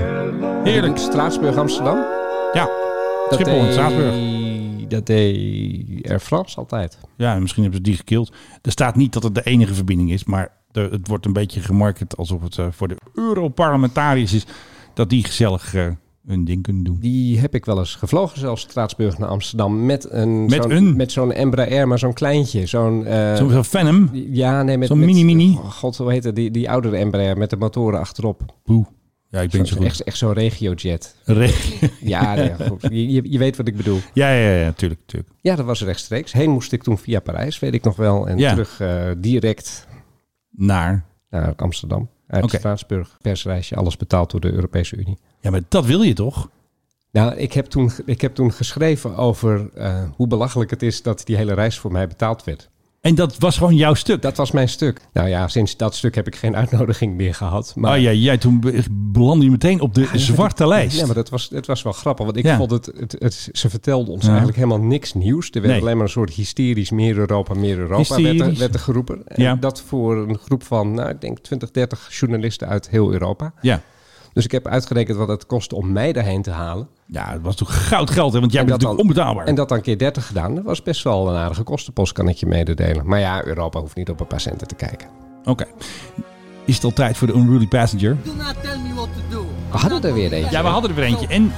Heerlijk. Straatsburg, Amsterdam. Ja, Schiphol en Straatsburg. Dat deed Air France altijd. Ja, en misschien hebben ze die gekild. Er staat niet dat het de enige verbinding is. Maar de- het wordt een beetje gemarket alsof het eh, voor de Europarlementariërs is. Dat die gezellig eh, hun ding kunnen doen. Die heb ik wel eens gevlogen, zelfs Straatsburg naar Amsterdam. Met een... Met zo'n, een? Met zo'n Embraer, eh, maar zo'n kleintje. Zo'n... eh, Zo'n zo'n Venom. ja, nee, met... zo'n met- mini-mini? Oh, God, hoe heet het? Die, die oudere Embraer met de motoren achterop. Boe. Ja, ik ben niet zo Zo'n- goed. echt, echt zo'n regiojet. Re- Ja, nee, goed. Je, je, je weet wat ik bedoel. ja, ja, ja, ja, tuurlijk, tuurlijk. Ja, dat was rechtstreeks. Heen moest ik toen via Parijs, weet ik nog wel. En Ja. terug eh, direct Naar. naar Amsterdam. Uit Oké. Straatsburg, persreisje, alles betaald door de Europese Unie. Ja, maar dat wil je toch? Nou, ik heb toen, ik heb toen geschreven over eh, hoe belachelijk het is dat die hele reis voor mij betaald werd. En dat was gewoon jouw stuk. Dat was mijn stuk. Nou ja, sinds dat stuk heb ik geen uitnodiging meer gehad. Maar, oh ja, jij toen be- belandde je meteen op de zwarte lijst. Ja, maar dat was, het was wel grappig. Want ik Ja. vond het, het, het- Ze vertelden ons Ja. eigenlijk helemaal niks nieuws. Er werd Nee. alleen maar een soort hysterisch meer Europa, meer Europa werd er, Hysterisch. werd er geroepen. En Ja. dat voor een groep van, nou, ik denk 20, 30 journalisten uit heel Europa. ja. Dus ik heb uitgerekend wat het kost om mij daarheen te halen. ja, dat was toch goud geld, hè? want jij En bent dat natuurlijk onbetaalbaar. En dat dan keer 30 gedaan. Dat was best wel een aardige kostenpost, kan ik je mededelen. Maar ja, Europa hoeft niet op een paar centen te kijken. Oké. Is het al tijd voor de Unruly Passenger? We hadden er weer eentje. Ja, we hadden er weer eentje. En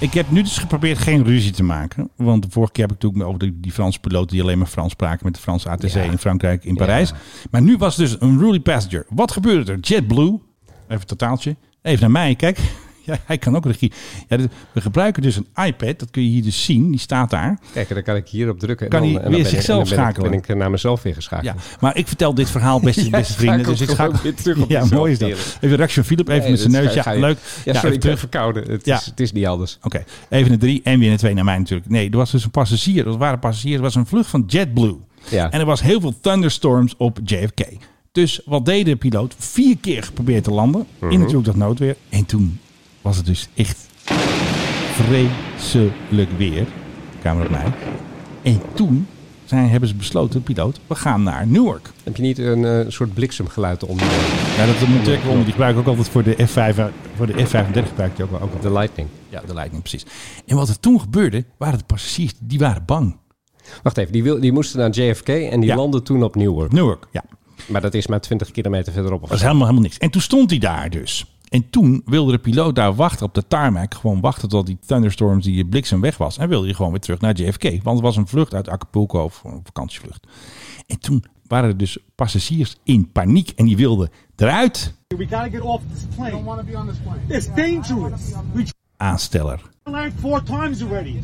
ik heb nu dus geprobeerd geen ruzie te maken. Want de vorige keer heb ik natuurlijk over die, die Franse piloten die alleen maar Frans spraken met de Franse ATC in Frankrijk, in Parijs. Maar nu was het dus een Unruly Passenger. Wat gebeurde er? JetBlue, even totaaltje, even naar mij, kijk. Ja, hij kan ook regie. Ja, dit- we gebruiken dus een iPad, dat kun je hier dus zien, die staat daar. Kijk, en dan kan ik hierop drukken. Kan en dan, hij en dan weer ben ik- zichzelf en dan ben ik- schakelen? ben ik naar mezelf weer geschakeld. Ja, maar ik vertel dit verhaal beste, beste vrienden. schakel Dus ik gewoon ga weer terug op Ja, jezelf, mooi is dat. heerlijk. Even de reactie van Philip, even Nee, met zijn dat neus. ga- ga Ja, je- leuk. Ja, sorry, even ik ben verkouden. Het, Ja. is, het is niet anders. Oké, even een drie en weer een twee naar mij natuurlijk. Nee, er was dus een passagier. Dat waren passagiers. Het was een vlucht van JetBlue. Ja. En er was heel veel thunderstorms op JFK. Dus wat deed de piloot? Vier keer geprobeerd te landen. In Mhm. natuurlijk dat noodweer. En toen was het dus echt vreselijk weer. Camera op mij. En toen zijn, hebben ze besloten, piloot, we gaan naar Newark. Heb je niet een eh, soort bliksemgeluid om eh, Ja, dat moet ik wel. Die gebruik ik ook altijd voor de F5. Voor de F35 gebruik ik die ook wel. Ook wel. de lightning? Ja, de Lightning, precies. En wat er toen gebeurde, waren de passagiers, die waren bang. Wacht even, die, wil, die moesten naar JFK en die Ja. landden toen op Newark. Newark, ja. Maar dat is maar 20 kilometer verderop. of Dat is zo. helemaal, helemaal niks. En toen stond hij daar dus. En toen wilde de piloot daar wachten op de tarmac. Gewoon wachten tot die thunderstorms, die bliksem weg was. En wilde hij gewoon weer terug naar JFK. Want het was een vlucht uit Acapulco, of een vakantievlucht. En toen waren er dus passagiers in paniek. En die wilden eruit. We gotta get off this plane. don't want to be on this plane. It's dangerous. We Aansteller. tried four times already.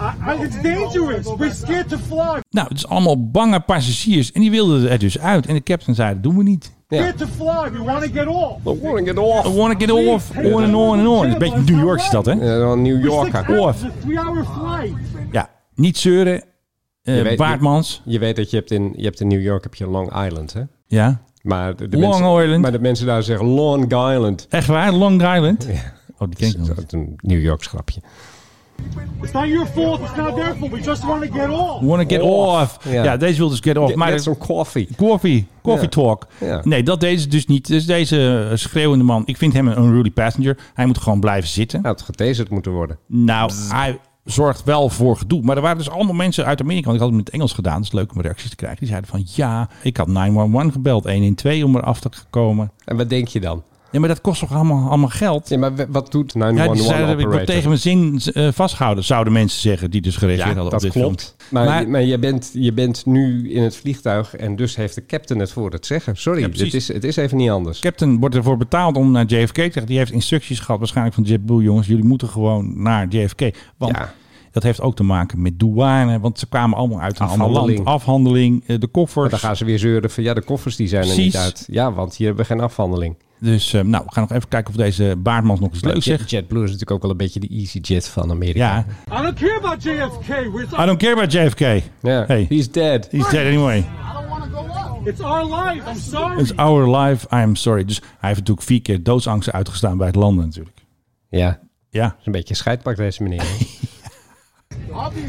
I, I, it's dangerous. We're scared to fly. Nou, het is allemaal bange passagiers. En die wilden er dus uit. En de captain zei, dat doen we niet. We're scared to fly. We want to get off. I wanna get off, on and on and on. Een beetje New York is dat, hè? Eh, wel een New Six Yorker. hours, Off. a three-hour flight. Ja, niet zeuren. eh, Je weet- Baartmans. Je weet dat je hebt in, je hebt in New York heb je Long Island, hè? Ja. Maar de, de Long mensen, Island. Maar de mensen daar zeggen Long Island. Echt waar? Long Island? Oh, die ken ik nog Dat niet. is een New Yorks grapje. It's not your fault. It's not their fault. We just want to get off. Wanna get off. Off. Ja, Ja. deze wil dus get off. Get, maar get some coffee. Coffee, coffee Ja. talk. Ja. Nee, dat deed ze dus niet. Dus deze eh, schreeuwende man, ik vind hem een unruly passenger. Hij moet gewoon blijven zitten. Nou, het getaserd moeten worden. Nou, hij zorgt wel voor gedoe. Maar er waren dus allemaal mensen uit Amerika. Want ik had het met het Engels gedaan. Dus leuk om reacties te krijgen. Die zeiden van ja, ik had 911 gebeld. 112 om eraf te komen. En wat denk je dan? Ja, maar dat kost toch allemaal, allemaal geld? Ja, maar w- wat doet Ja, die 911 zeiden, ik word operator? tegen mijn zin eh, vastgehouden, zouden mensen zeggen die dus gereageerd Ja, hadden dat op dit klopt. filmpje. Maar, Maar- maar, je, bent, je bent nu in het vliegtuig en dus heeft de captain het voor het zeggen. Sorry, Ja, precies. het, is, het is even niet anders. Captain wordt ervoor betaald om naar JFK te gaan. Die heeft instructies gehad waarschijnlijk van JetBlue. Jongens, jullie moeten gewoon naar JFK. Want Ja. dat heeft ook te maken met douane. Want ze kwamen allemaal uit een ander Afhandeling. land. Afhandeling, eh, de koffers. Maar dan gaan ze weer zeuren van ja, de koffers die zijn er Precies. niet uit. Ja, want hier hebben we geen afhandeling. Dus eh, nou, we gaan nog even kijken of deze baardmans nog iets Maar leuk Jet- zegt. JetBlue is natuurlijk ook wel een beetje de EasyJet van Amerika. Ja, I don't care about JFK. We're- I don't care about JFK. Ja, Hey. he's dead. He's dead anyway. It's our life. I'm sorry. It's our life, I am sorry. Dus hij heeft natuurlijk vier keer doodsangsten uitgestaan bij het landen natuurlijk. Ja, Ja, is een beetje een scheidpak deze meneer.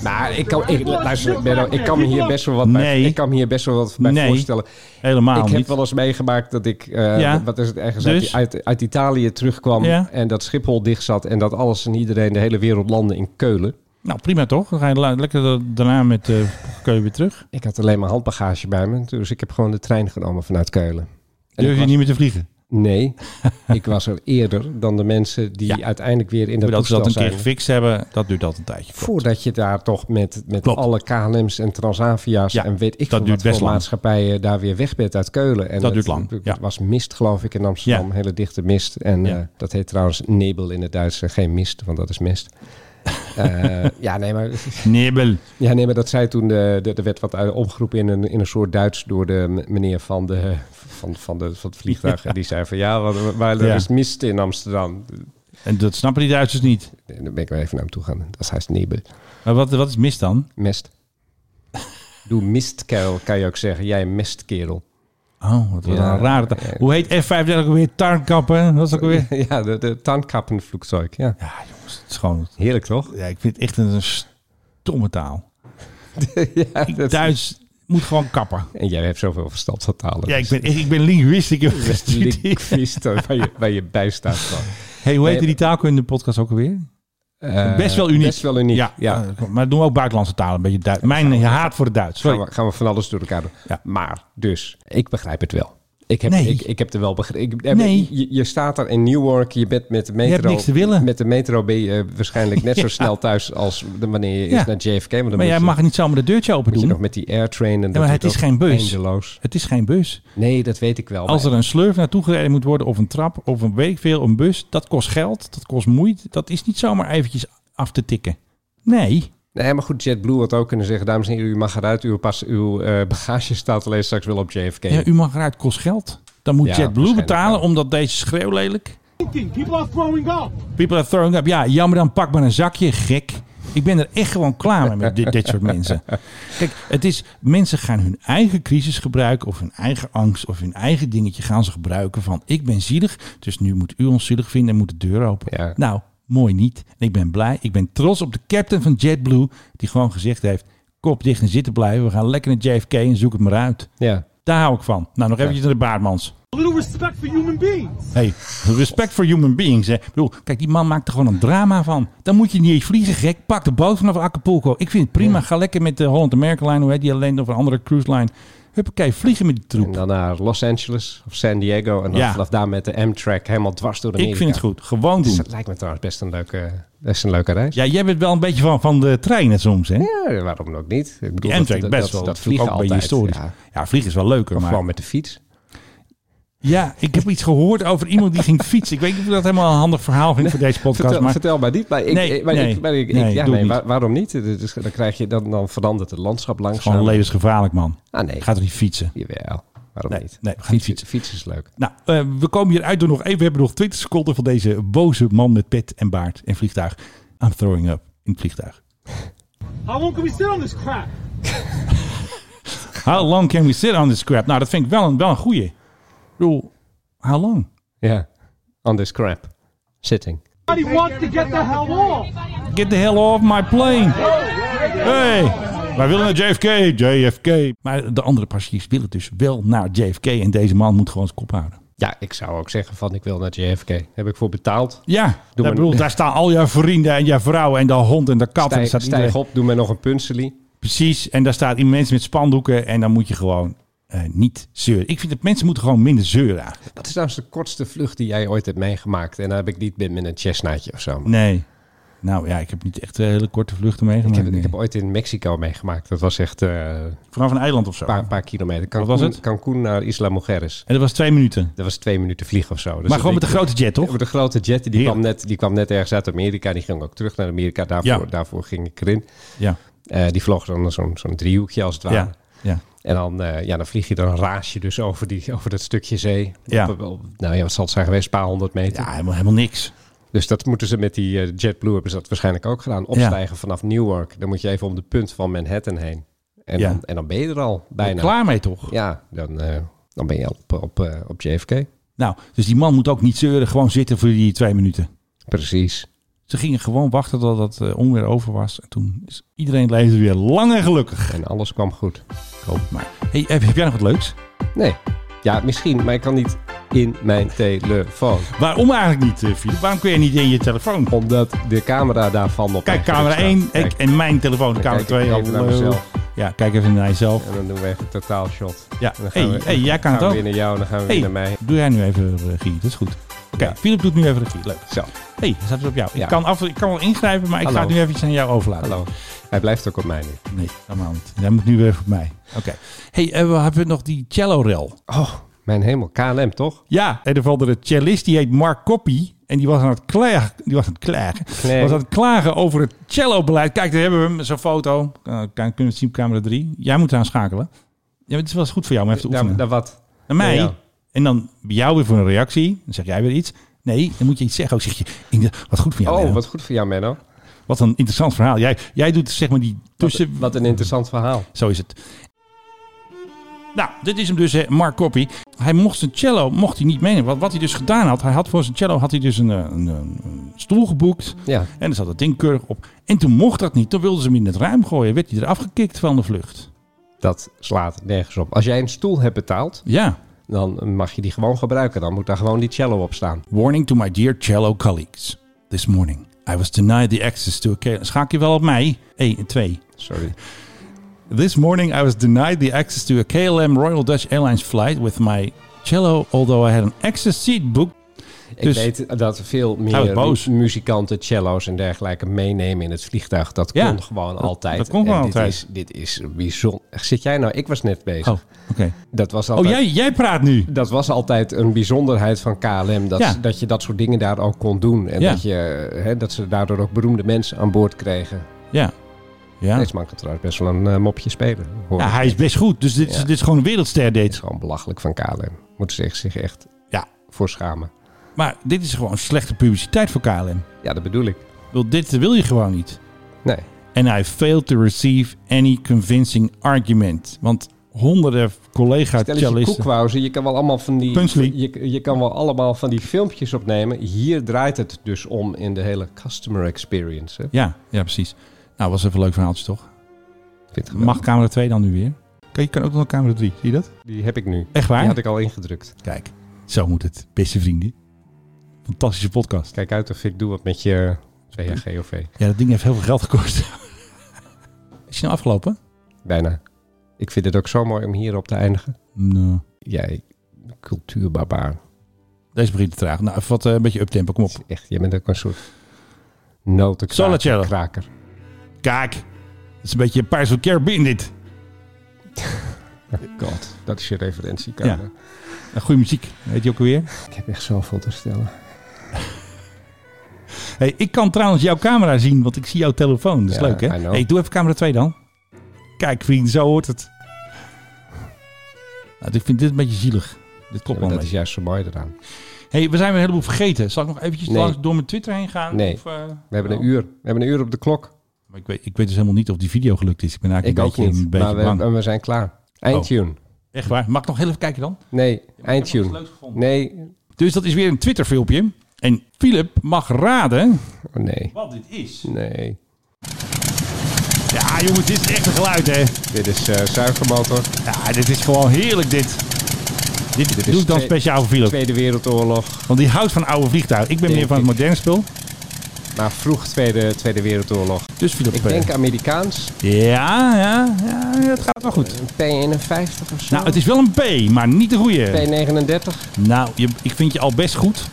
Maar Nou, ik kan, ik, luister, Benno, ik kan me hier best wel wat bij, Nee. ik kan me hier best wel wat bij Nee. voorstellen. helemaal ik niet. heb wel eens meegemaakt dat ik, eh, Ja. wat is het ergens, Dus? uit, uit, uit Italië terugkwam Ja. en dat Schiphol dicht zat en dat alles en iedereen de hele wereld landde in Keulen. Nou, prima toch? Dan ga je la- lekker da- daarna met eh Keulen weer terug. Ik had alleen maar handbagage bij me, dus ik heb gewoon de trein genomen vanuit Keulen. En Durf ik je was- niet meer te vliegen? Nee, ik was er eerder dan de mensen die Ja. uiteindelijk weer in dat Voordat ze toestel dat een zijn. keer gefixt hebben, dat duurt altijd een tijdje. Voordat je daar toch met, met Klopt. alle KLM's en Transavia's Ja, en weet ik dat veel duurt wat best voor lang. maatschappijen daar weer weg bent uit Keulen. En Dat duurt lang, Het ja. was mist geloof ik in Amsterdam, Ja. hele dichte mist. En Ja. eh, dat heet trouwens nebel in het Duits en geen mist, want dat is mist. Eh, ja, nee, maar, Nibbel. ja, nee, maar dat zei toen, de, de, er werd wat uit- opgeroepen in een, in een soort Duits door de m- meneer van, de, van, van, de, van het vliegtuig. En die zei van ja, waar, waar er Ja. is mist in Amsterdam. En dat snappen die Duitsers niet. En daar ben ik wel even naar hem toe gaan. Dat heißt nebel. Maar wat, wat is mis dan? Mest. Doe mistkerel, kan je ook zeggen. Jij mestkerel. Oh, wat wat Ja. een rare ta- Hoe heet F35 ook weer? Tarnkappen? Dat is ook weer... Ja, de, de tandkappenvloekzeug. Ja. Ja, jongens, het is gewoon... Heerlijk, toch? Ja, ik vind het echt een, een stomme taal. ja, dat- Duits moet gewoon kappen. En jij hebt zoveel verstand van talen. Ja, ik ben, ik ben linguist. Ik heb gestudeerd. Linguist, waar je, waar je bij staat van. Hey, hoe heette Nee, die taalkunde podcast ook alweer? Eh, Best wel uniek. Best wel uniek, ja. eh, Maar doen we ook buitenlandse talen. Een beetje Duits. Mijn haat voor het Duits. Sorry. Gaan, we, gaan we van alles door elkaar doen. Ja. Maar, dus, ik begrijp het wel. Ik heb, Nee. ik, ik heb er wel begrepen. Nee. Je, je staat daar in Newark, je bent met de metro. hebt niks te willen. Met de metro ben je waarschijnlijk net zo Ja. snel thuis als de- wanneer je Ja. is naar JFK. Want dan Maar moet jij je- mag niet zomaar de deurtje open Moet je nog doen. met die airtrain en dat maar het doet is ook geen bus. Eindeloos. Het is geen bus. Oh, Nee, dat weet ik wel. Als maar- er een slurf naartoe gereden moet worden, of een trap, of een weekveel, een bus, dat kost geld, dat kost moeite. Dat is niet zomaar eventjes af te tikken. Nee. Nee, maar goed, JetBlue had ook kunnen zeggen... dames en heren, u mag eruit, uw, pas, uw eh, bagage staat alleen straks wel op JFK. Ja, u mag eruit, kost geld. Dan moet Ja, JetBlue waarschijnlijk betalen, wel. omdat deze schreeuw lelijk. Thinking. People are throwing up. People are throwing up. Ja, jammer dan, pak maar een zakje, gek. Ik ben er echt gewoon klaar mee met dit, dit soort mensen. Kijk, het is, mensen gaan hun eigen crisis gebruiken of hun eigen angst of hun eigen dingetje gaan ze gebruiken van ik ben zielig, dus nu moet u ons zielig vinden en moet de deur open. Ja. Nou, mooi niet. En ik ben blij. Ik ben trots op de captain van JetBlue die gewoon gezegd heeft, kop dicht en zitten blijven. We gaan lekker naar JFK en zoek het maar uit. Ja. Daar hou ik van. Nou, nog eventjes naar de baardmans. A little respect for human beings. Hey, respect voor human beings. Hè. Ik bedoel, kijk, die man maakt er gewoon een drama van. Dan moet je niet eens vliegen, gek. Pak de boot vanaf Acapulco. Ik vind het prima. Ga lekker met de Holland America Line, hoe heet die alleen, of een andere cruise line. Huppakee, vliegen met die En troep. dan naar Los Angeles of San Diego... en dan Ja. vanaf daar met de Amtrak helemaal dwars door Amerika. Ik vind het goed. Gewoon Dus doen. dat lijkt me trouwens best een leuke, best een leuke reis. Ja, jij bent wel een beetje van, van de treinen soms, hè? Ja, waarom ook niet? Ik bedoel, Die Amtrak dat, best dat, wel. Dat vliegen ook altijd. bij je historisch. Ja. Ja. vliegen is wel leuker, Of maar... gewoon met de fiets. Ja, ik heb iets gehoord over iemand die ging fietsen. Ik weet niet of dat helemaal een handig verhaal vind voor deze podcast, Vertel, maar... vertel maar niet. Maar ik, Nee, ik- maar nee, ik, maar ik, ik- nee, ja, doe nee, niet. waar- waarom niet? Dus dan, krijg je, dan, dan verandert het landschap langzaam. Gewoon levensgevaarlijk, man. Ah, nee. Ga er niet fietsen. Jawel, waarom Nee, niet? nee, we gaan niet fietsen, fietsen is leuk. Nou, eh, we komen hier uit door nog even. We hebben nog 20 seconden van deze boze man met pet en baard en vliegtuig. I'm throwing up in het vliegtuig. How long can we sit on this crap? How long can we sit on this crap? Nou, dat vind ik wel een, wel een goeie. Ik bedoel, how long? Ja, on this crap. Sitting. Everybody wants to get the hell off. Get the hell off my plane. Hey, wij willen naar JFK, JFK. Maar de andere passagiers willen dus wel naar JFK. En deze man moet gewoon zijn kop houden. Ja, ik zou ook zeggen van ik wil naar JFK. Heb ik voor betaald. Ja, daar, maar- bedoel, daar staan al jouw vrienden en jouw vrouw en de hond en de kat. en Stijg, daar staat stijg iedereen- op, doe mij nog een punselie. Precies, en daar staat iemand met spandoeken en dan moet je gewoon eh, niet zeuren. Ik vind dat mensen moeten gewoon minder zeuren eigenlijk. Wat is trouwens de kortste vlucht die jij ooit hebt meegemaakt? En dan heb ik niet met met een chestnaatje of zo. Nee. Nou ja, ik heb niet echt eh, hele korte vluchten Ik meegemaakt. heb, ik nee. heb ooit in Mexico meegemaakt. Dat was echt eh, een Vanaf een eiland of zo. paar, paar kilometer. Cancun, was het? Cancun naar Isla Mujeres. En dat was twee minuten. Dat was twee minuten vliegen of zo. Dus maar dat gewoon met ik- een grote jet, toch? Met de grote jet. Die Heerlijk. kwam, net, die kwam net ergens uit Amerika. Die ging ook terug naar Amerika. Daarvoor, Ja. daarvoor ging ik erin. Ja. Eh, die vloog dan zo'n zo'n driehoekje als het ware. Ja. ja. En dan, eh, ja, dan vlieg je dan raas je dus over, die, over dat stukje zee. Ja. Op- op- nou ja, wat zal het zijn geweest? Een paar honderd meter. Ja, helemaal, helemaal niks. Dus dat moeten ze met die eh, JetBlue hebben ze dat waarschijnlijk ook gedaan. Opstijgen vanaf Newark. Dan moet je even om de punt van Manhattan heen. En, Ja. Oh, dan, en dan ben je er al bijna. Klaar mee toch? Ja, dan, eh, dan ben je op, op, eh, op JFK. Nou, dus die man moet ook niet zeuren. Gewoon zitten voor die twee minuten. Precies. Ze gingen gewoon wachten tot dat eh, onweer over was. En toen is iedereen leefde weer lang en gelukkig. En alles kwam goed. Ik hoop het maar. Hey, heb, heb jij nog wat leuks? Nee. Ja, misschien, maar ik kan niet in mijn telefoon. Waarom eigenlijk niet, eh, Filip? Waarom kun je niet in je telefoon? Omdat de camera daarvan op. Kijk, mijn camera gezicht 1 staat. ik, en mijn telefoon, camera kijk ik 2. even naar Hallo. mezelf. Ja, kijk even naar jezelf. En dan doen we even een totaalshot. Ja, En dan hey, gaan we- hey, jij kan gaan het we ook. weer naar jou, dan gaan we Hey, weer naar mij. doe jij nu even eh, regie, dat is goed. Oké, Ja. Filip doet nu even regie, leuk. Zo, Hé, hey, dan staat het op jou. Ik, Ja. kan af, ik kan wel ingrijpen, maar ik ga Hallo. het nu even iets aan jou overlaten. hallo. Hij blijft ook op mij nu. Nee, helemaal niet. Jij moet nu weer voor mij. Oké. Hé, hey, eh, we hebben nog die cello-rel. Oh, mijn hemel. KLM, toch? Ja, en er valde de cellist, die heet Mark Koppie. En die was aan het klagen. Die was aan het klagen. Klagen. Was aan het klagen over het cello-beleid. Kijk, daar hebben we hem, zo'n foto. Eh, kan- kunnen we het zien op camera 3. Jij moet eraan schakelen. Ja, het is wel eens goed voor jou om even te Nou, oefenen. nou, wat? Naar mij. Ja. En dan bij jou weer voor een reactie. Dan zeg jij weer iets. Nee, dan moet je iets zeggen. Ook zeg je, Inge, wat goed van jou. oh, Menno. wat goed voor jou, Menno. Wat een interessant verhaal. Jij, jij doet zeg maar die tussen... Wat, wat een interessant verhaal. Zo is het. Nou, dit is hem dus, hè, Mark Koppie. Hij mocht zijn cello mocht hij niet meenemen. Wat, wat hij dus gedaan had, hij had voor zijn cello had hij dus een, eh, een, een- een stoel geboekt. Ja. En er zat dat ding keurig op. En toen mocht dat niet. Toen wilden ze hem in het ruim gooien. Werd hij eraf gekikt van de vlucht. Dat slaat nergens op. Als jij een stoel hebt betaald, Ja. dan mag je die gewoon gebruiken. Dan moet daar gewoon die cello op staan. Warning to my dear cello colleagues. This morning, I was denied the access to a cello. Schaak je wel op mij? 1 en 2. Sorry. This morning, I was denied the access to a KLM Royal Dutch Airlines flight with my cello, although I had an access seat booked. ik Dus- weet dat veel meer wordt boos. mu- muzikanten, cello's en dergelijke meenemen in het vliegtuig. Dat Ja, kon gewoon dat- altijd. dat kon gewoon En dit altijd. Is, dit is bijzonder. Zit jij nou? Ik was net bezig. Oh, oké. Dat was Oh, altijd... jij, jij praat nu. Dat was altijd een bijzonderheid van KLM. Dat, Ja. dat je dat soort dingen daar ook kon doen. En Ja. dat, je, hè, dat ze daardoor ook beroemde mensen aan boord kregen. Ja. Ja. Deze man kan trouwens best wel een eh, mopje spelen. Hoor. ja, ik. hij is best goed. Dus dit, is, Ja. dit is gewoon een wereldster Het date. is gewoon belachelijk van KLM. Moeten ze echt- zich echt Ja. voor schamen. Maar dit is gewoon slechte publiciteit voor KLM. Ja, dat bedoel ik. Ik bedoel, Dit wil je gewoon niet. Nee. En I failed to receive any convincing argument. Want honderden collega Stel eens je cellisten... koekwauzen. Je kan wel allemaal van die... Punchlie. Je, je kan wel allemaal van die filmpjes opnemen. Hier draait het dus om in de hele customer experience. Hè. Ja, ja, precies. Nou, was even een leuk verhaaltje, toch? Ik vind het geweldig. Mag camera 2 dan nu weer? Kijk, je kan ook nog camera 3. Zie je dat? Die heb ik nu. Echt waar? Die had ik al ingedrukt. Kijk, zo moet het, beste vrienden. Fantastische podcast. Kijk uit of ik doe wat met je eh, VHGOV. Ja, dat ding heeft heel veel geld gekost. Is je nou afgelopen? Bijna. Ik vind het ook zo mooi om hierop te eindigen. Nee. Jij, cultuurbarbaar. Deze begint te traag. Nou, even wat eh, een beetje uptempo, kom op. Echt, jij bent ook een soort notenkraker. Solacello. kraker. Kijk, het is een beetje Pirates of the Caribbean dit. God, dat is je referentie. Ja. Nou, Goede muziek, weet je ook weer. Ik heb echt zoveel te stellen. Hey, ik kan trouwens jouw camera zien, want ik zie jouw telefoon. Dat is Ja, leuk, hè? I know. Hey, doe even camera 2 dan. Kijk, vriend, zo hoort het. Nou, ik vind dit een beetje zielig. Dit klopt wel dat een is beetje. juist zo mooi eraan. Hey, we zijn weer een heleboel vergeten. Zal ik nog eventjes Nee. langs door mijn Twitter heen gaan? Nee. Of, eh, We hebben oh. een uur. We hebben een uur op de klok. Maar ik, weet, ik weet dus helemaal niet of die video gelukt is. Ik ben Ik eigenlijk een ook beetje, niet. een beetje Maar we, bang. en we zijn klaar. Eindtune. Echt waar? Mag ik nog heel even kijken dan? Nee, Ik heb nog iets eindtune. leuks gevonden. Nee. Dus dat is weer een Twitter filmpje. En Philip mag raden Oh, nee. wat dit is. Nee. Ja, jongens, dit is echt een geluid, hè? Dit is eh zuigermotor. Ja, dit is gewoon heerlijk, dit. Dit, Dit is doe ik dan twee- speciaal voor Philip. Tweede Wereldoorlog. Want die houdt van oude vliegtuigen. Ik ben Denk meer van het ik. moderne spul. Maar vroeg Tweede, Tweede Wereldoorlog. Dus Philip, Ik eh, denk Amerikaans. ja, ja, ja, het gaat wel goed. Een P51 of zo. Nou, het is wel een P, maar niet de goede. P39. Nou, je, ik vind je al best goed.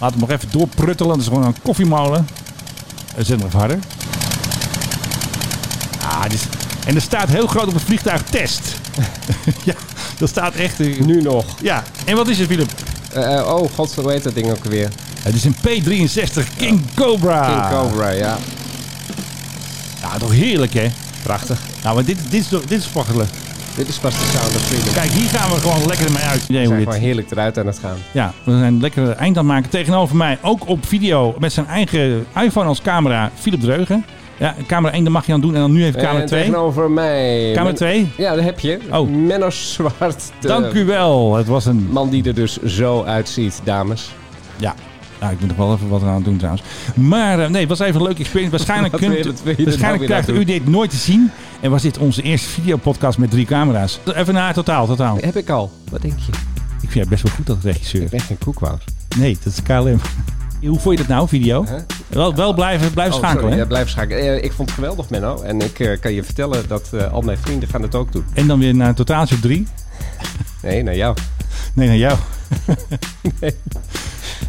Laat hem nog even doorpruttelen. Dat is gewoon een koffiemolen. Eh, Zet hem nog even harder. Ah, dit is- en er staat heel groot op het vliegtuig test. ja, dat staat echt... eh, Nu nog. Ja, en wat is het, Philip? Eh, eh, oh god, hoe heet dat ding ook weer? Het is een P63 King Cobra. King Cobra, ja. Nou, toch heerlijk, hè? Prachtig. Nou, maar dit, dit, is, toch- dit is sparkelen. Dit is pas de sound of freedom. Kijk, hier gaan we gewoon lekker mee uit. Nee, We hoe zijn dit- gewoon heerlijk eruit aan het gaan. Ja, we zijn lekker een eind aan het maken. Tegenover mij, ook op video, met zijn eigen iPhone als camera, Philip Dreugen. Ja, camera 1, dat mag je aan doen. En dan nu even camera En 2. Eh, tegenover mij. Camera Men- 2. Ja, dat heb je. Oh. Menno Zwart. de Dank u wel. Het was een... Man die er dus zo uitziet, dames. Ja. Nou, ik moet nog wel even wat aan doen trouwens. Maar eh, nee, het was even een leuke experience. Waarschijnlijk, Wat kunt, wil je- wat wil je er nou waarschijnlijk weer krijgt aan doen? u dit nooit te zien. En was dit onze eerste videopodcast met drie camera's. Even naar totaal, totaal. Heb ik al. Wat denk je? Oh, Ik vind het best wel goed dat regisseur. Ik ben geen koekwoud. Nee, dat is KLM. Hoe vond je dat nou, video? Wel, wel blijven, blijven Oh, schakelen. sorry, hè? ja, blijf schakelen. Eh, ik vond het geweldig, Menno. En ik eh, kan je vertellen dat eh, al mijn vrienden gaan het ook doen. En dan weer naar totaaltje op drie. Nee, naar jou. Nou, Nee, naar jou.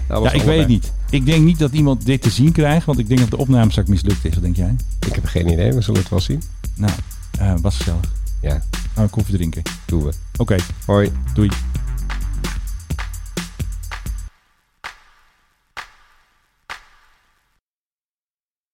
Dat was Ja, ik weet het allebei. niet. Ik denk niet dat iemand dit te zien krijgt, want ik denk dat de opnamezak mislukt is. Wat denk jij? Ik heb geen idee. We zullen het wel zien. Nou, eh was gezellig. Ja, Gaan we koffie drinken. doen we. Oké, Hoi. doei.